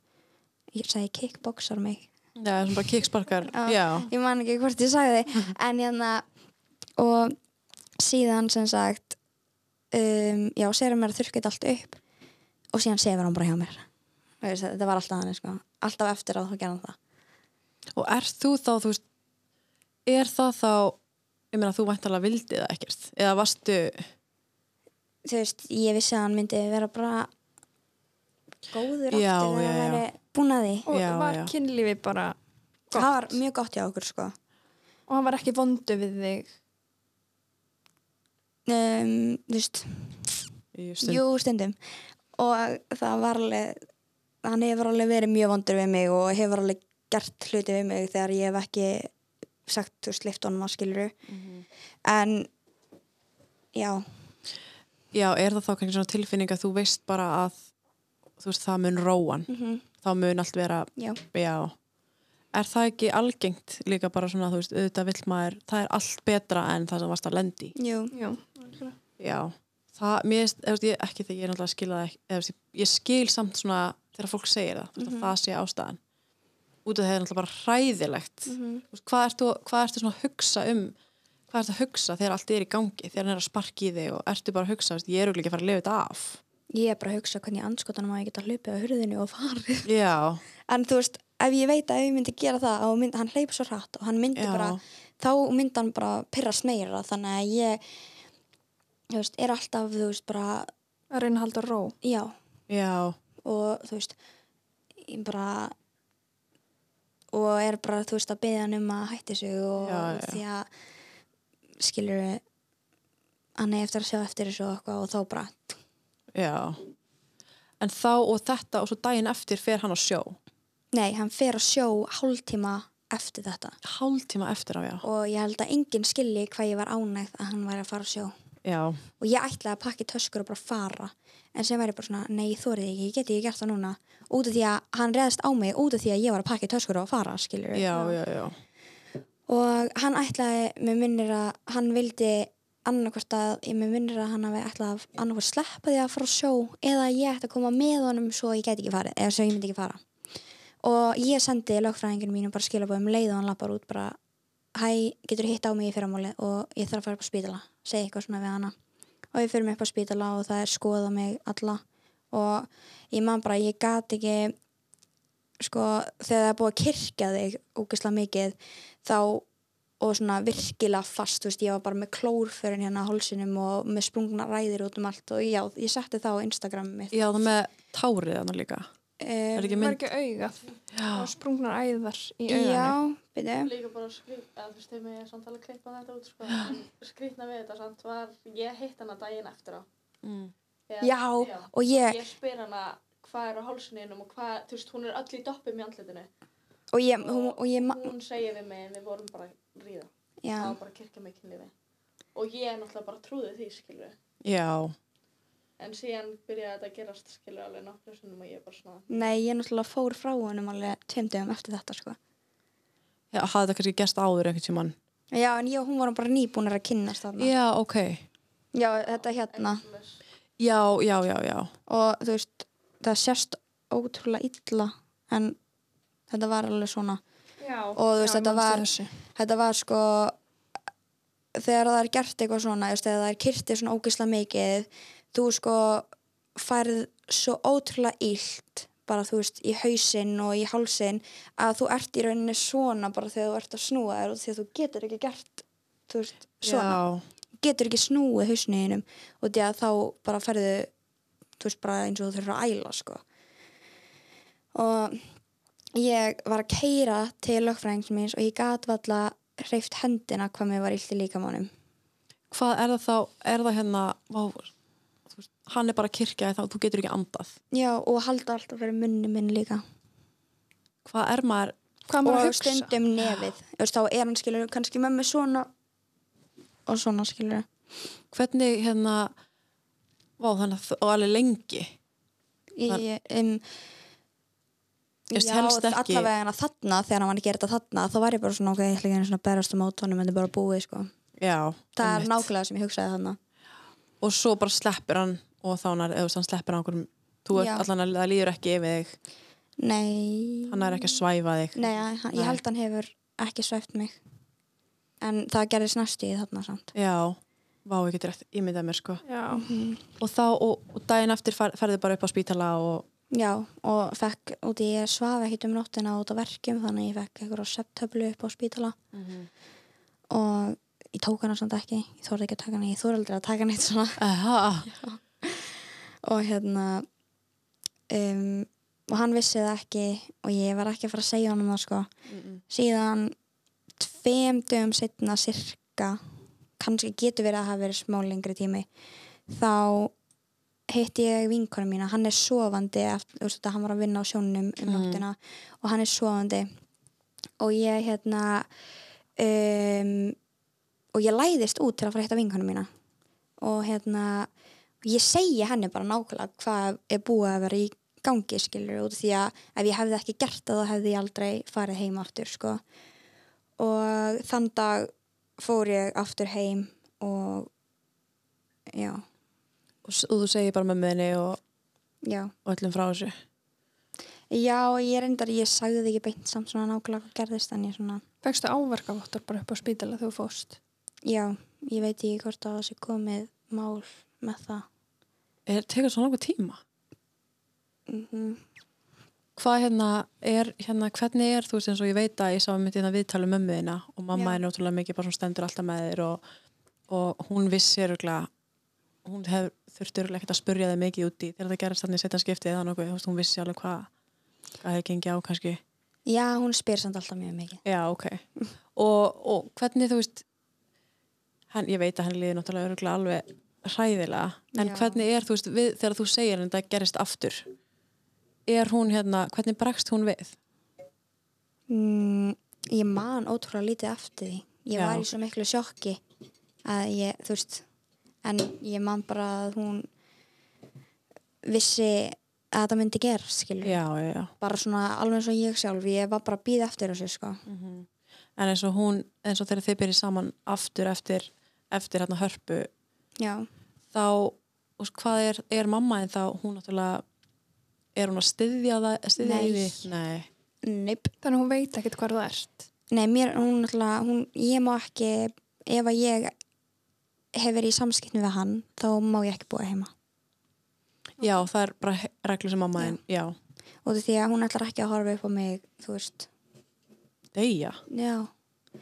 Speaker 3: ég segi kickboxar mig
Speaker 1: Já, sem bara kicksparkar.
Speaker 3: Já.
Speaker 1: Já.
Speaker 3: ég man ekki hvort ég sagði en hérna og síðan sem sagt um, já, segir hann mér að þurrka þetta allt upp og síðan sefur hann bara hjá mér Þú veist, þetta var alltaf hann sko. alltaf eftir að þú gerðan það
Speaker 1: Og er þú þá, þú veist, er það þá, ég meina þú væntalega vildi það ekkert? Eða varstu,
Speaker 3: þú veist, ég vissi að hann myndi vera bara góður
Speaker 1: Já, já,
Speaker 3: aftur þegar hann
Speaker 1: já.
Speaker 3: væri búin að því
Speaker 2: Og
Speaker 1: Já,
Speaker 2: var
Speaker 1: já.
Speaker 2: kynlífi bara
Speaker 3: það var mjög gott hjá okkur sko
Speaker 2: og hann var ekki vondu við þig
Speaker 3: um, þú veist,
Speaker 1: Jú, stund-
Speaker 3: jú stundum og það var alveg hann hefur alveg verið mjög vondur við mig og hefur alveg gert hluti við mig þegar ég hef ekki sagt, þú veist, lift honum að skiluru
Speaker 1: Mhm.
Speaker 3: en já,
Speaker 1: já, er það þá kannski svona tilfinning að þú veist bara að, þú veist, það mun róan. Þá mun allt vera,
Speaker 3: já,
Speaker 1: já. Er það ekki algengt líka bara svona, þú veist, auðvitað vill maður, það er allt betra en það sem varst að lendi.
Speaker 3: jú
Speaker 2: já,
Speaker 1: Já, það, mér, finnst- eða, þú veist, ég, ekki þegar ég er náttúrulega að skila það ekki, eða, þú veist, ég- ég skil samt svona þegar fólk segir það, mm -hmm. það sé ástæðan út af það er náttúrulega bara hræðilegt mm -hmm. hvað, ertu, hvað ertu svona að hugsa um hvað ertu að hugsa þegar allt er í gangi þegar hann er að sparki í þig og ertu bara að hugsa þú veist, ég er auðvitað ekki að fara að lifa þetta af
Speaker 3: ég er bara að hugsa hvernig anskotanum að ég geta hlupið á hurðinu og farið
Speaker 1: Já,
Speaker 3: en þú veist, ef ég veit að ef ég myndi gera það og mynd, hann hleypur svo hratt og hann myndi
Speaker 1: Já.
Speaker 3: bara, þá myndi hann bara pyrrast meira, þannig að ég þú veist, er alltaf þú veist, bara,
Speaker 2: að reyna að halda ró
Speaker 3: já
Speaker 1: já,
Speaker 3: og þú veist ég bara og er bara, þú veist, að beða hann um að hætti sig og
Speaker 1: Já, já.
Speaker 3: því að skilur hann er eftir að sjá eftir þessu og eitthvað og þá bara,
Speaker 1: já en þá og þetta og svo daginn eftir fer hann á sjó
Speaker 3: nei, hann fer að sjó hálftíma eftir þetta
Speaker 1: hálftíma eftir á já
Speaker 3: og ég held að enginn skilji hvað ég var ánægð að hann væri að fara á sjó
Speaker 1: já,
Speaker 3: og ég ætlaði að pakka í töskur og bara fara en sem væri bara svona, nei, ég þorið ekki, ég geti ekki gert það núna út af því að hann reðist á mig út af því að ég var að pakka í töskur og fara, skilur
Speaker 1: já, já, já.
Speaker 3: og hann ætlaði, mér minnir að hann vildi annarkvort að, ég mér minnir að hann hafi ætlaði að annarkvort sleppa því að fara á sjó eða ég ætti að koma með honum svo ég geti ekki farið, eða svo ég myndi ekki fara og ég sendi lögfræðinginu mínu bara skilabóðum leið og hann lappar út bara hæ, getur hitt á mig í fyrramáli og ég þarf að fara upp á spítala, segi eitthvað svona við hana og ég fyrir mig upp á spítala og það er skoða mig alla og ég man bara, ég gat ekki sko, þegar það er búið að kirkja þig úkislega mikið þá og svona virkilega fast, þú veist, ég var bara með klórförin hérna á hálsinum og með sprungna ræðir út um allt og já, ég setti það á Instagram mitt.
Speaker 1: Já, það með tárið hann líka.
Speaker 3: Um,
Speaker 1: Er ekki
Speaker 2: var
Speaker 1: mynd? Ah.
Speaker 2: ekki augað
Speaker 1: Já,
Speaker 2: og sprungnar æðar í augunni
Speaker 3: já, byrju.
Speaker 4: Líka bara skrýt, eða þú veist, þegar mér er samt alveg klippa þetta út, sko, en skrýtna við þetta samt var, ég hitt hana daginn eftir á.
Speaker 1: Mm.
Speaker 4: Þegar-
Speaker 3: Já, og ég,
Speaker 4: Ég spyr hana hvað er á hálsuninum og hvað, þú veist, hún er öll í doppum í andlitinu.
Speaker 3: og ég, hún, og ég, ma-
Speaker 4: Hún segir við mig en við vorum bara að ríða.
Speaker 3: já,
Speaker 4: Það var bara kirkja mig kynlífi. Og ég náttúrulega bara trúði því, skilur
Speaker 1: já,
Speaker 4: En síðan byrjaði þetta að gerast, skilur alveg nokkru sinnum og ég bara svona,
Speaker 3: nei, ég náttúrulega fór frá honum alveg tveim dögum eftir þetta, sko.
Speaker 1: já hafði það kannski gerst áður einhvern tímann.
Speaker 3: Já, en ég og hún vorum bara nýbúnar að kynnast þarna.
Speaker 1: Já, ok.
Speaker 3: Já, þetta hérna,
Speaker 4: bless.
Speaker 1: Já, já, já, já.
Speaker 3: og þú veist, það sést ótrúlega illa, en þetta var alveg svona.
Speaker 2: já,
Speaker 3: Og þú veist,
Speaker 2: já,
Speaker 3: þetta
Speaker 2: ég manst
Speaker 3: var-
Speaker 2: þessu.
Speaker 3: þetta var sko þegar það er gert eitthvað svona just, þegar það er kyrtið svona ógisla mikið þú sko færð svo ótrúlega illt bara þú veist í hausinn og í hálsinn að þú ert í rauninni svona bara þegar þú ert að snúa þér og því að þú getur ekki gert þú veist svona, getur ekki snúið hausniðinum og því að þá bara færðu þú veist bara eins og þú þurfur að æla sko og ég var að keira til lögfræðings míns og ég gat valla hreift hendina hvað mér var illt í líkamannum
Speaker 1: Hvað er það þá, er það hérna, vá, þú veist, hann er bara kirkja þá, þú getur ekki andað.
Speaker 3: já og halda alltaf fyrir munni minn líka
Speaker 1: Hvað er maður,
Speaker 2: hvað maður að
Speaker 3: og
Speaker 2: hugsa
Speaker 3: stundum nefið Þú veist, þá er hann skilur kannski með mig svona og svona skilur
Speaker 1: hvernig hérna, vá, þannig að það er alveg lengi.
Speaker 3: ég, um,
Speaker 1: Þú veist, helst ekki-
Speaker 3: allavega hana þarna þegar hann var að gera þetta þarna þá var ég bara svona ok, ég ætla ekki einu svona að berast á mótónum en það er bara búið sko
Speaker 1: Já.
Speaker 3: það er
Speaker 1: einmitt.
Speaker 3: nákvæmlega sem ég hugsaði þarna
Speaker 1: Og svo bara sleppir hann og þá hann, eða þú veist, hann sleppir hann okkur, þú er
Speaker 3: Já.
Speaker 1: allan að það líður ekki yfir þig,
Speaker 3: nei
Speaker 1: hann er ekki að svæfa þig.
Speaker 3: Nei, hann, ég held hann hefur ekki svæft mig en það gerðist næstu í þarna samt
Speaker 1: Já, vá, ég getur eftir ímyndað mér sko.
Speaker 2: já,
Speaker 1: Og þá, og, og daginn eftir fer, ferði bara upp á spítala og,
Speaker 3: Já, og fekk, út í ég svaf ekkert um nóttina út á verkjum þannig að ég fekk eitthvað septöflu upp á spítala Mhm. og ég tók hana samt ekki ég þorði ekki að taka hana, ég þorði aldrei að taka neitt svona
Speaker 1: aha,
Speaker 3: og hérna um, og hann vissi það ekki og ég var ekki að fara að segja honum það sko síðan tveim dögum setna sirka kannski getur verið að hafa verið smá lengri tími þá hitti ég vinkonu mína, hann er sofandi eftir, þú veist þetta, hann var að vinna á sjónum um nóttina og hann er sofandi og ég hérna um, og ég læðist út til að fara að hitta vinkonu mína og hérna ég segi henni bara nákvæmlega hvað er búið að vera í gangi skilur út af því að ef ég hefði ekki gert það þá hefði ég aldrei farið heim aftur sko. og þann dag fór ég aftur heim og já,
Speaker 1: og, s- og þú segir bara með minni og,
Speaker 3: já
Speaker 1: og öllum frá þessu.
Speaker 3: já, ég reyndar, ég sagði því ekki beint samt svona nákvæmlega hvað gerðist en ég svona
Speaker 2: fegstu áverkavottar bara upp á spítala þegar þú fóst
Speaker 3: já, ég veit ekki hvort að það sé komið mál með það
Speaker 1: Er, tekur svona okkur tíma?
Speaker 3: mm
Speaker 1: Hvað hérna er, hérna, hvernig er þú veist eins og ég veit að ég sá mitt hérna viðtalið mömmu þína og mamma
Speaker 3: Já.
Speaker 1: er náttúrulega mikið bara svona stendur alltaf með þér og, og hún vissi öruglega, hún hef, þurfti öruglega ekkert að spurja þig mikið út í þegar það gerast þannig setja skiptið eða nokkuð, þú veist, hún vissi alveg hvað, hvað hefði gengið á kannski.
Speaker 3: já, hún spyr samt alltaf mjög mikið
Speaker 1: Já, ok. Og, og hvernig þú veist, hann, ég veit að hann líður náttúrulega öruglega alveg hræðilega, en
Speaker 3: Já.
Speaker 1: hvernig er þú veist, við, þegar þú segir henni að þetta gerist aftur, er hún hérna, hvernig bregst hún við?
Speaker 3: Mm, ég man ótrúlega lítið eftir því. Ég
Speaker 1: Já.
Speaker 3: var í svo miklu sjokki að ég, þú veist, en ég man bara að hún vissi að þetta myndi gera skilur
Speaker 1: já, já, já.
Speaker 3: bara svona alveg eins og ég sjálf ég var bara að býða eftir þessu sko
Speaker 1: Mm. en eins og hún, eins og þegar þið byrjið saman aftur eftir, eftir hérna hörpu
Speaker 3: já,
Speaker 1: þá, og hvað er, er mamma en þá, hún náttúrulega er hún að styðja það, styðja
Speaker 3: Nei.
Speaker 1: í því nei,
Speaker 3: neip
Speaker 2: Þannig að hún veit ekkert hvar þú ert.
Speaker 3: Nei, mér, hún náttúrulega, hún, ég má ekki, ef að ég hef verið í samskiptinu við hann, þá má ég ekki búa heima.
Speaker 1: já, það er bara he- reglu sem mamma en, já,
Speaker 3: Og því að hún ætlar ekki að horfa upp á mig, þú veist.
Speaker 1: deyja
Speaker 3: Já.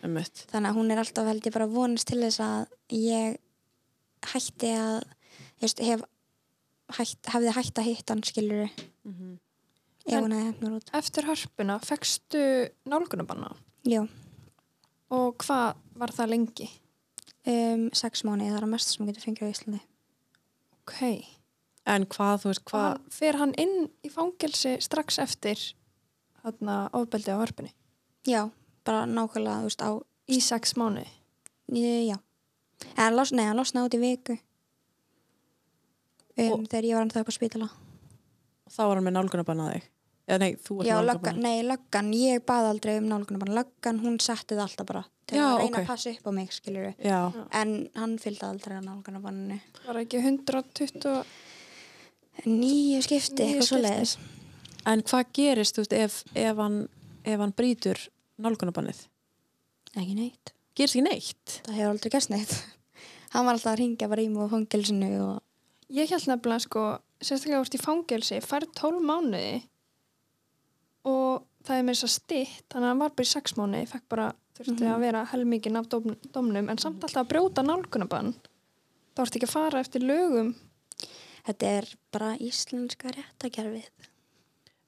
Speaker 1: um
Speaker 3: Þannig að hún er alltaf held ég bara að vonast til þess að ég hætti að, ég veist, hef, hætt, hefði hætt að hitta hann, skilur við, ef
Speaker 2: En-
Speaker 3: hún hefði hefnur út.
Speaker 2: Eftir harpuna fekstu nálgunabanna
Speaker 3: Já,
Speaker 2: og hvað var það lengi?
Speaker 3: um, sex mánuði, það er að mesta sem hún getur fengið á Íslandi.
Speaker 2: Ok.
Speaker 1: en hvað, þú veist,
Speaker 2: Og
Speaker 1: hvað
Speaker 2: hann, fer hann inn í fangelsi strax eftir þarna ofbeldi á harpunni?
Speaker 3: Já, bara nákvæmlega, þú veist, á,
Speaker 2: Í sex mánuði?
Speaker 3: já. En hann losna, nei, hann losna út í viku. Um,
Speaker 1: Og-
Speaker 3: þegar ég var hann það upp á spítala.
Speaker 1: þá var hann með nálgunabann að þig eða nei, þú ert
Speaker 3: Já,
Speaker 1: með
Speaker 3: löggan,
Speaker 1: nálgunabann
Speaker 3: nei, löggan, ég baði aldrei um nálgunum bara. Löggan, hún setti það alltaf bara. Til
Speaker 1: Já,
Speaker 3: að reyna
Speaker 1: ok.
Speaker 3: að passa upp á mig, skilur við.
Speaker 1: já,
Speaker 3: En hann fylgdi aldrei að nálgunum banninu.
Speaker 2: Var það ekki 120?
Speaker 3: Nýju skipti,
Speaker 2: Níu
Speaker 3: eitthvað svo
Speaker 2: skipti.
Speaker 3: leiðis.
Speaker 1: en hvað gerist, þú veist, ef, ef hann ef hann brýtur nálgunabannið
Speaker 3: Ekki neitt.
Speaker 1: gerist ekki neitt
Speaker 3: Það hefur aldrei gæst neitt. hann var alltaf að ringja bara í mig á fangilsinu og...
Speaker 2: Ég held nefnilega sko, sérstaklega vart í fangelsi, fær 12 mánuði og það er með þess að stitt, þannig að hann var bara í 6 mánuði, fekk bara, þurfti að vera helmingin af dóm, dómnum, en samt alltaf að brjóta nálgunabann. Það vart ekki að fara eftir lögum.
Speaker 3: Þetta er bara íslenska réttakerfið.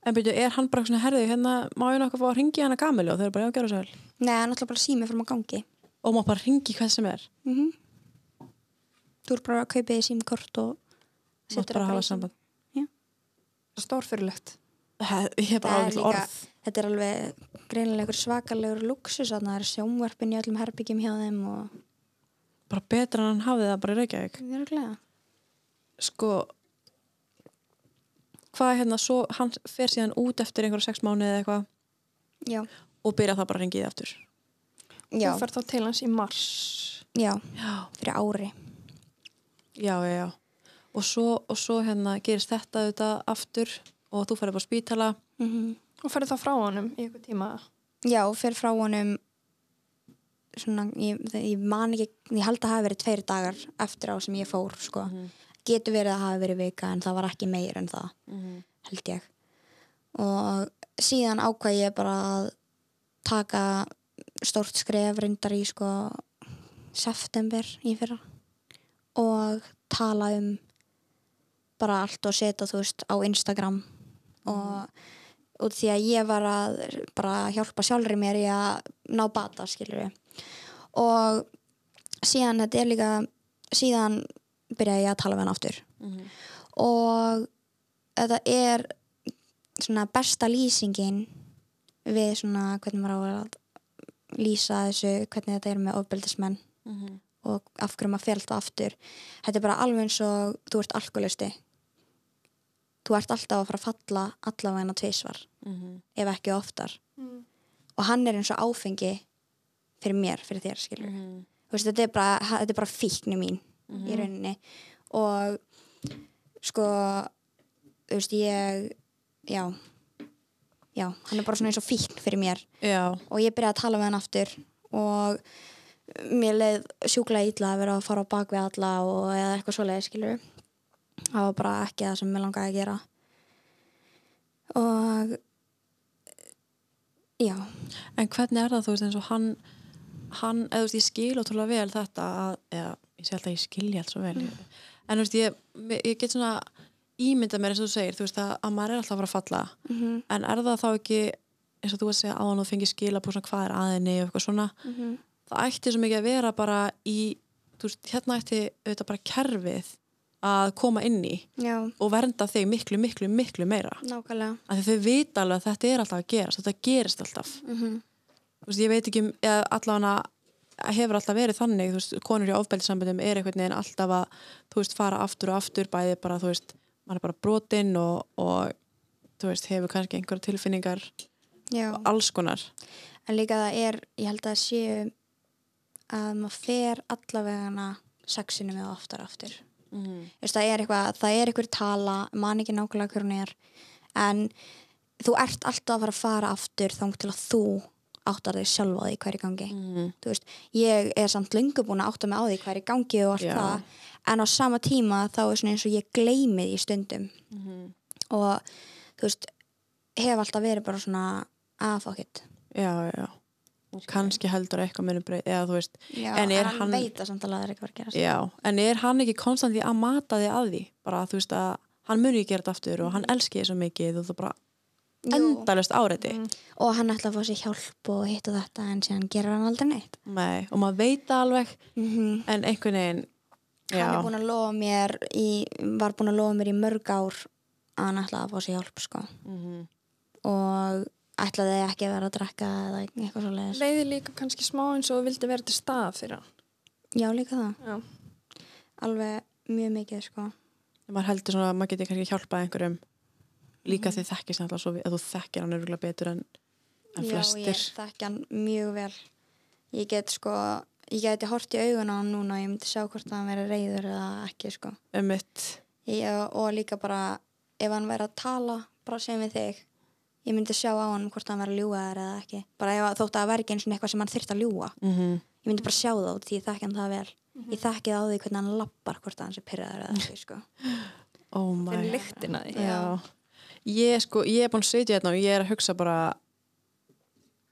Speaker 1: en byrju, er hann bara svona herðið hérna, má ég nokkuð fá að ringi hana gamilu og þau eru bara, já, gera svo vel
Speaker 3: Nei, hann er alltaf bara sími fram á gangi.
Speaker 1: og má bara ringi hvað sem er
Speaker 3: Mm Þú er bara að kaupa því símkort og
Speaker 1: Þú mátt
Speaker 3: setur
Speaker 1: bara
Speaker 3: það
Speaker 1: hafa
Speaker 3: í símann.
Speaker 1: samband
Speaker 2: Stórfyrirlegt.
Speaker 1: He- ég er bara
Speaker 3: Það er
Speaker 1: ágætt
Speaker 3: líka-
Speaker 1: orð
Speaker 3: Þetta er alveg greinilega einhver svakalegur luxus að það er sjónvarpin í öllum herbyggjum hjá þeim og
Speaker 1: bara betra en hann hafið það bara í Reykjavík
Speaker 3: Mjörglega.
Speaker 1: sko hvað er hérna, svo hann fer síðan út eftir einhverja sex mánuði eða eitthvað
Speaker 3: Já.
Speaker 1: og byrja það bara að ringi þið aftur
Speaker 3: Já.
Speaker 2: Þú fær þá til hans í mars.
Speaker 3: Já,
Speaker 1: já,
Speaker 3: fyrir ári.
Speaker 1: já, já, já. Og, svo, og svo hérna gerist þetta auðvitað aftur og þú færði bara spítala
Speaker 3: Mm
Speaker 1: Mhm.
Speaker 2: Og færði þá frá honum í eitthvað tíma.
Speaker 3: Já, og fyrir frá honum svona, ég, ég man ekki, ég held að hafa verið tveir dagar eftir á sem ég fór, sko. Getur verið að hafa verið vika en það var ekki meir en það, held ég. Og síðan ákvað ég bara að taka stórt skref reyndar í, sko, september í fyrra og tala um bara allt og setja, þú veist, á Instagram og út því að ég var að bara hjálpa sjálfri mér í að ná bata, skilur við. Og síðan, þetta er líka, síðan byrjaði ég að tala við hann aftur. Og þetta er svona besta lýsingin við svona hvernig maður á að lýsa þessu, hvernig þetta er með ofbeldismenn og af hverju maður fjölda aftur. Þetta er bara alveg eins og þú ert alkoholisti. Þú ert alltaf að fara að falla allavegna tveisvar ef ekki oftar og hann er eins og áfengi fyrir mér, fyrir þér skilur mm veist, þetta, er bara, ha- þetta er bara fíknu mín í rauninni og sko þú veist ég já, já, hann er bara svona eins og fíkn fyrir mér
Speaker 1: já,
Speaker 3: og ég byrjaði að tala með hann aftur og mér leið sjúklega illa að vera að fara á bak við alla og eða eitthvað svoleiði skilur það var bara ekki það sem mér langaði að gera og já
Speaker 1: en hvernig er það þú veist eins og hann hann, eða þú veist, ég skil ótrúlega vel þetta að, eða, ég sé alltaf að ég skilja allt svo vel, en þú veist, ég mér- ég get svona ímyndað mér eins og þú segir þú veist að, að maður er alltaf að fara að falla
Speaker 3: Mhm.
Speaker 1: en er það þá ekki eins og þú að segja áðan og fengið skila på svona hvað er aðinni og eitthvað svona, það ætti svo mikið að vera bara í, þú veist, hérna ætti auðvitað bara kerfið að koma inn í
Speaker 3: já,
Speaker 1: og vernda þig miklu, miklu, miklu meira
Speaker 3: nákvæmlega
Speaker 1: af því þau vita alveg að þetta er alltaf að gerast þetta gerist alltaf
Speaker 3: mm -hmm.
Speaker 1: þú veist, ég veit ekki um, eða allavega hefur alltaf verið þannig, þú veist, konur í ofbeldisambundum er einhvern veginn alltaf að, þú veist, fara aftur og aftur, bæði bara, þú veist, maður er bara brotinn og, og, þú veist, hefur kannski einhverja tilfinningar
Speaker 3: Já.
Speaker 1: og alls konar.
Speaker 3: En líka það er, ég held að það séu að maður fer allavegana sexinu með oftar og aftur.
Speaker 1: Mm.
Speaker 3: Þú veist, það er eitthvað, það er eitthvað tala, man ekki nákvæmlega hver hún er, en þú ert alltaf að fara að fara aftur þang til að þú áttar þig sjálf á því hverju gangi.
Speaker 1: Mm.
Speaker 3: Þú veist, ég er samt löngu búin að átta mig á því hverju gangi og allt
Speaker 1: Já.
Speaker 3: það, en á sama tíma þá er svona eins og ég gleymið í stundum
Speaker 1: Mhm.
Speaker 3: og þú veist, hef alltaf verið bara svona ah, aðfokkitt.
Speaker 1: Já, já. Og kannski heldur eitthvað munum breyð, eða þú veist,
Speaker 3: Já,
Speaker 1: En er
Speaker 3: hann,
Speaker 1: hann-
Speaker 3: veit að samt alveg að það er eitthvað að gerast.
Speaker 1: Já, en er hann ekki konstant í að mata þig að því? Bara þú veist að hann muni ekki gera þetta aftur og hann elski þig svo mikið og þú bara
Speaker 3: Jú.
Speaker 1: endalust áreiti.
Speaker 3: og hann ætla að fá sér hjálp og hitt og þetta en síðan gerur hann aldrei neitt
Speaker 1: Nei, og maður veit það alveg
Speaker 3: Mhm.
Speaker 1: en einhvern veginn, já,
Speaker 3: hann er búin að lofa mér í, var búin að lofa mér í mörg ár að hann ætla að fá sér hjálp sko.
Speaker 1: Mhm.
Speaker 3: og ætlaði ekki að vera að drekka eða eitthvað svo leiðis
Speaker 2: Leiði líka kannski smá eins og þú vildi vera til stað fyrir hann.
Speaker 3: já líka það,
Speaker 2: Já.
Speaker 3: alveg mjög mikið sko.
Speaker 1: maður heldur svona að maður geti kannski hjálpað einhverjum líka mm. þið þekkist alltaf svo við, að þú þekkir hann örgulega betur en, en
Speaker 3: já ég
Speaker 1: flestir.
Speaker 3: þekki hann mjög vel ég get sko ég geti hort í augun á hann núna og ég myndi sjá hvort hann verið reyður eða ekki sko.
Speaker 1: Um mitt,
Speaker 3: ég, og líka bara ef hann væri að tala, bara sem við þig ég myndi sjá á hann hvort hann væri að ljúga þér eða ekki, bara ef að þótt að það væri ekki eins og eitthvað sem hann þyrft að ljúga
Speaker 1: mm
Speaker 3: ég myndi bara sjá það út því ég þekki hann það vel ég þekki það á því hvernig hann lappar hvort að hann sé pyrraður eða ekki sko.
Speaker 1: oh my
Speaker 2: Fyrir lyktina af því.
Speaker 1: Já. Ég sko, ég er búin að sitja hérna og ég er að hugsa bara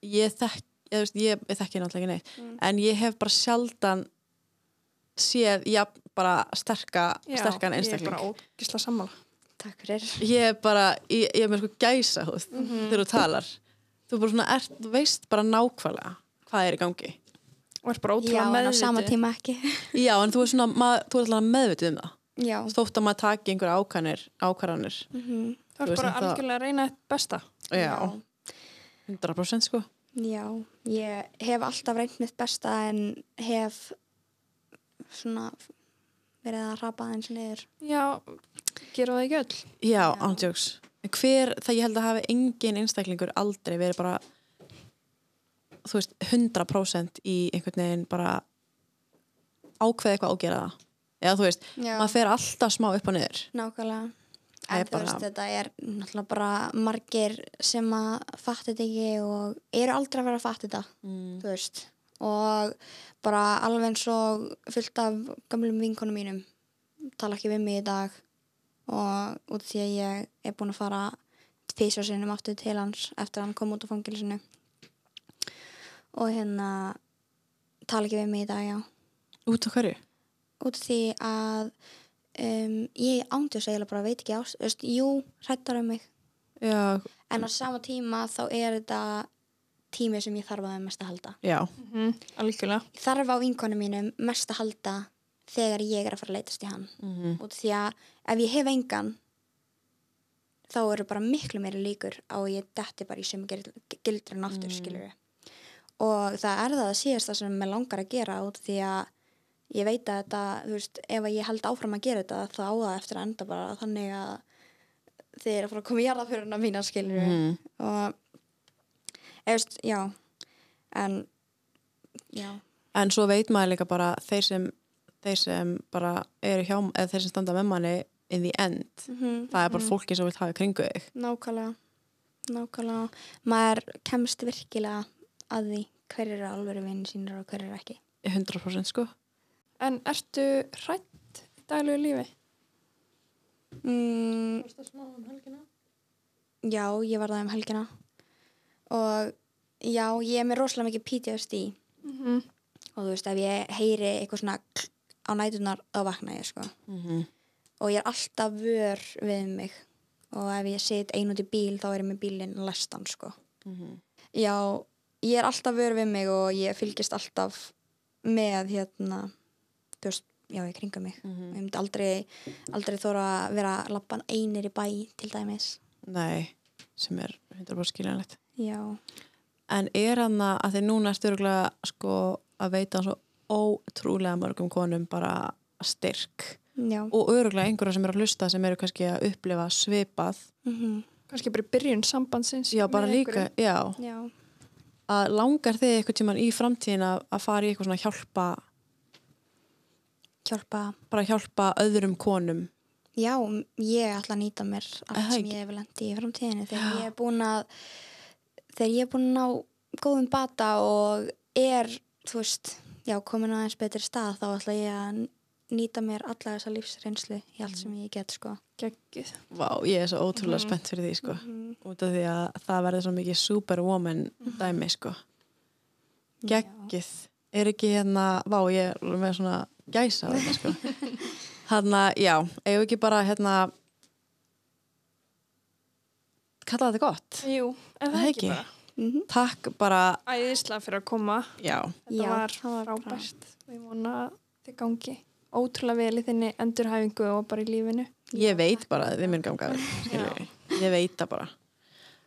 Speaker 1: ég þekk ég, veist, ég, ég þekki náttúrulega ekki neitt en ég hef bara sjaldan séð, já, bara sterka, sterkan
Speaker 2: Ég er
Speaker 1: einstakling
Speaker 2: bara ógisla sammála.
Speaker 3: takk fyrir
Speaker 1: ég er bara, ég, ég er með sko gæsa húð þegar þú talar þú bara svona ert, þú veist bara nákvæmlega hvað er í gangi
Speaker 2: Og er bara
Speaker 3: já,
Speaker 2: ótrúlega
Speaker 3: en á
Speaker 2: meðvitið.
Speaker 3: sama tíma ekki
Speaker 1: já, en þú er svona, mað, þú er alltaf meðvitið um það
Speaker 3: já,
Speaker 1: þótt að maður taki einhverja ákvarðanir ákvarðanir,
Speaker 3: Mhm.
Speaker 2: Þú
Speaker 1: Þú
Speaker 2: er
Speaker 1: veist
Speaker 2: bara
Speaker 1: en það-
Speaker 2: algjörlega að reyna eitt besta.
Speaker 1: já 100% sko
Speaker 3: já ég hef alltaf reynd mitt besta en hef svona verið að rapa aðeins niður
Speaker 2: Já, gera það ekki öll.
Speaker 1: Já, ándjóks. Hver, það ég held að hafi engin einstaklingur aldrei verið bara þú veist, 100% í einhvern veginn bara ákveða eitthvað ágera það. Eða þú veist,
Speaker 3: Já.
Speaker 1: maður fer alltaf smá upp og niður.
Speaker 3: Nákvæmlega.
Speaker 1: Það
Speaker 3: En
Speaker 1: er
Speaker 3: þú
Speaker 1: bara-
Speaker 3: veist, þetta er náttúrulega bara margir sem að fatta þetta ekki og eru aldrei að vera að fatta þetta,
Speaker 1: Mm.
Speaker 3: þú veist. Og bara alveg eins og fullt af gamlum vinkonum mínum tala ekki við mig í dag og út af því að ég er búin að fara físa sinum aftur til hans eftir að hann kom út á fangilsinu og hérna tala ekki við mig í dag, já
Speaker 1: Út á hverju?
Speaker 3: út af því að um, ég ándjóðs eiginlega bara veit ekki ást, veist, jú, hrættar um mig
Speaker 1: Já,
Speaker 3: en á sama tíma þá er þetta tími sem ég þarf að þeim mest að halda
Speaker 1: já,
Speaker 2: Mhm, Algjörlega.
Speaker 3: ég þarf á vinkonu mínum mest að halda þegar ég er að fara að leitast í hann
Speaker 1: Mhm.
Speaker 3: út af því að ef ég hef engan þá eru bara miklu meiri líkur á að ég detti bara í sem gildur en aftur, mm. skilur og það er það síðasta sem mér langar að gera út af því að ég veit að þetta, þú veist, ef að ég held áfram að gera þetta þá á það eftir að enda bara þannig að þið eru að fara að koma í jarðaföruna mína skilur
Speaker 2: Mhm.
Speaker 1: Mm.
Speaker 3: og eða veist, já en já,
Speaker 1: En svo veit maður líka bara þeir sem, þeir sem bara eru hjá, eða þeir sem standa með manni in the end. Það er
Speaker 2: Mhm.
Speaker 1: bara fólki sem vil hafa í kringu þig.
Speaker 3: nákvæmlega nákvæmlega, maður kemst virkilega að því hver eru alvöru vinn sínir og hver eru ekki
Speaker 1: 100% sko.
Speaker 2: En ertu hrætt í daglegu lífi?
Speaker 3: mm,
Speaker 4: Þú veist það smá um helgina?
Speaker 3: Já, ég var það um helgina og já, ég er með rosalega mikið PTSD og þú veist, ef ég heyri eitthvað svona klikk á nætunar þá vakna ég, sko
Speaker 2: Mhm.
Speaker 3: og ég er alltaf vör við mig og ef ég sit ein út í bíl þá er ég með bílinn lestan, sko
Speaker 2: Mhm.
Speaker 3: Já, ég er alltaf vör við mig og ég fylgist alltaf með hérna þú veist, já, ég kringa mig
Speaker 2: Mhm.
Speaker 3: og ég myndi aldrei, aldrei þóra að vera lappan einir í bæ, til dæmis
Speaker 1: Nei, sem er 100% skiljanlegt.
Speaker 3: Já
Speaker 1: En er hann að því núna ertu örgulega sko að veita svo ótrúlega mörgum konum bara styrk
Speaker 3: já,
Speaker 1: og öruglega einhverja sem eru að hlusta sem eru kannski að upplifa svipað
Speaker 3: mhm,
Speaker 2: kannski bara í byrjun sambandsins
Speaker 1: já, bara
Speaker 2: með
Speaker 1: líka,
Speaker 2: einhverjum.
Speaker 1: já
Speaker 3: já.
Speaker 1: að langar þið eitthvað tíman í framtíðin að, að fara í eitthvað svona hjálpa
Speaker 3: hjálpa
Speaker 1: bara hjálpa öðrum konum
Speaker 3: Já, m- ég ætla að nýta mér
Speaker 1: Er það
Speaker 3: allt sem
Speaker 1: ekki?
Speaker 3: ég hef lendi í framtíðinu þegar ég er búin að þegar ég er búin að ná góðum bata og er, þú veist já, komin aðeins betri stað þá ætla ég að n- nýta mér alla þessa lífsreynslu í
Speaker 1: Mm.
Speaker 3: allt sem ég get, sko
Speaker 2: geggjuð
Speaker 1: Vá, ég er svo ótrúlega spennt fyrir því sko. út af því að það verður svo mikið superwoman dæmi sko. geggið er ekki hérna, vá ég er með svona gæsa á þetta sko. hérna, já, eigum við ekki bara hérna kalla þetta gott
Speaker 2: Jú, er það,
Speaker 1: Það ekki.
Speaker 2: ekki bara
Speaker 3: Mhm.
Speaker 1: takk bara,
Speaker 2: æðislega fyrir að koma
Speaker 1: já,
Speaker 2: þetta
Speaker 3: Já,
Speaker 2: var
Speaker 3: það var bara-
Speaker 2: frábært við vona að þið gangi ótrúlega vel í þinni endurhæfingu og bara í lífinu
Speaker 1: ég veit bara að þið mun ganga vel, skilur við. ég veit það bara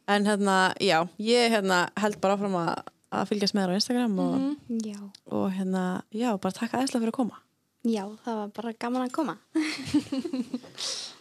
Speaker 1: en hérna, já, ég hérna held bara áfram að, að fylgjast með þér á Instagram og,
Speaker 3: Já,
Speaker 1: og hérna, já, bara takk aðeinslega fyrir að koma
Speaker 3: já, það var bara gaman að koma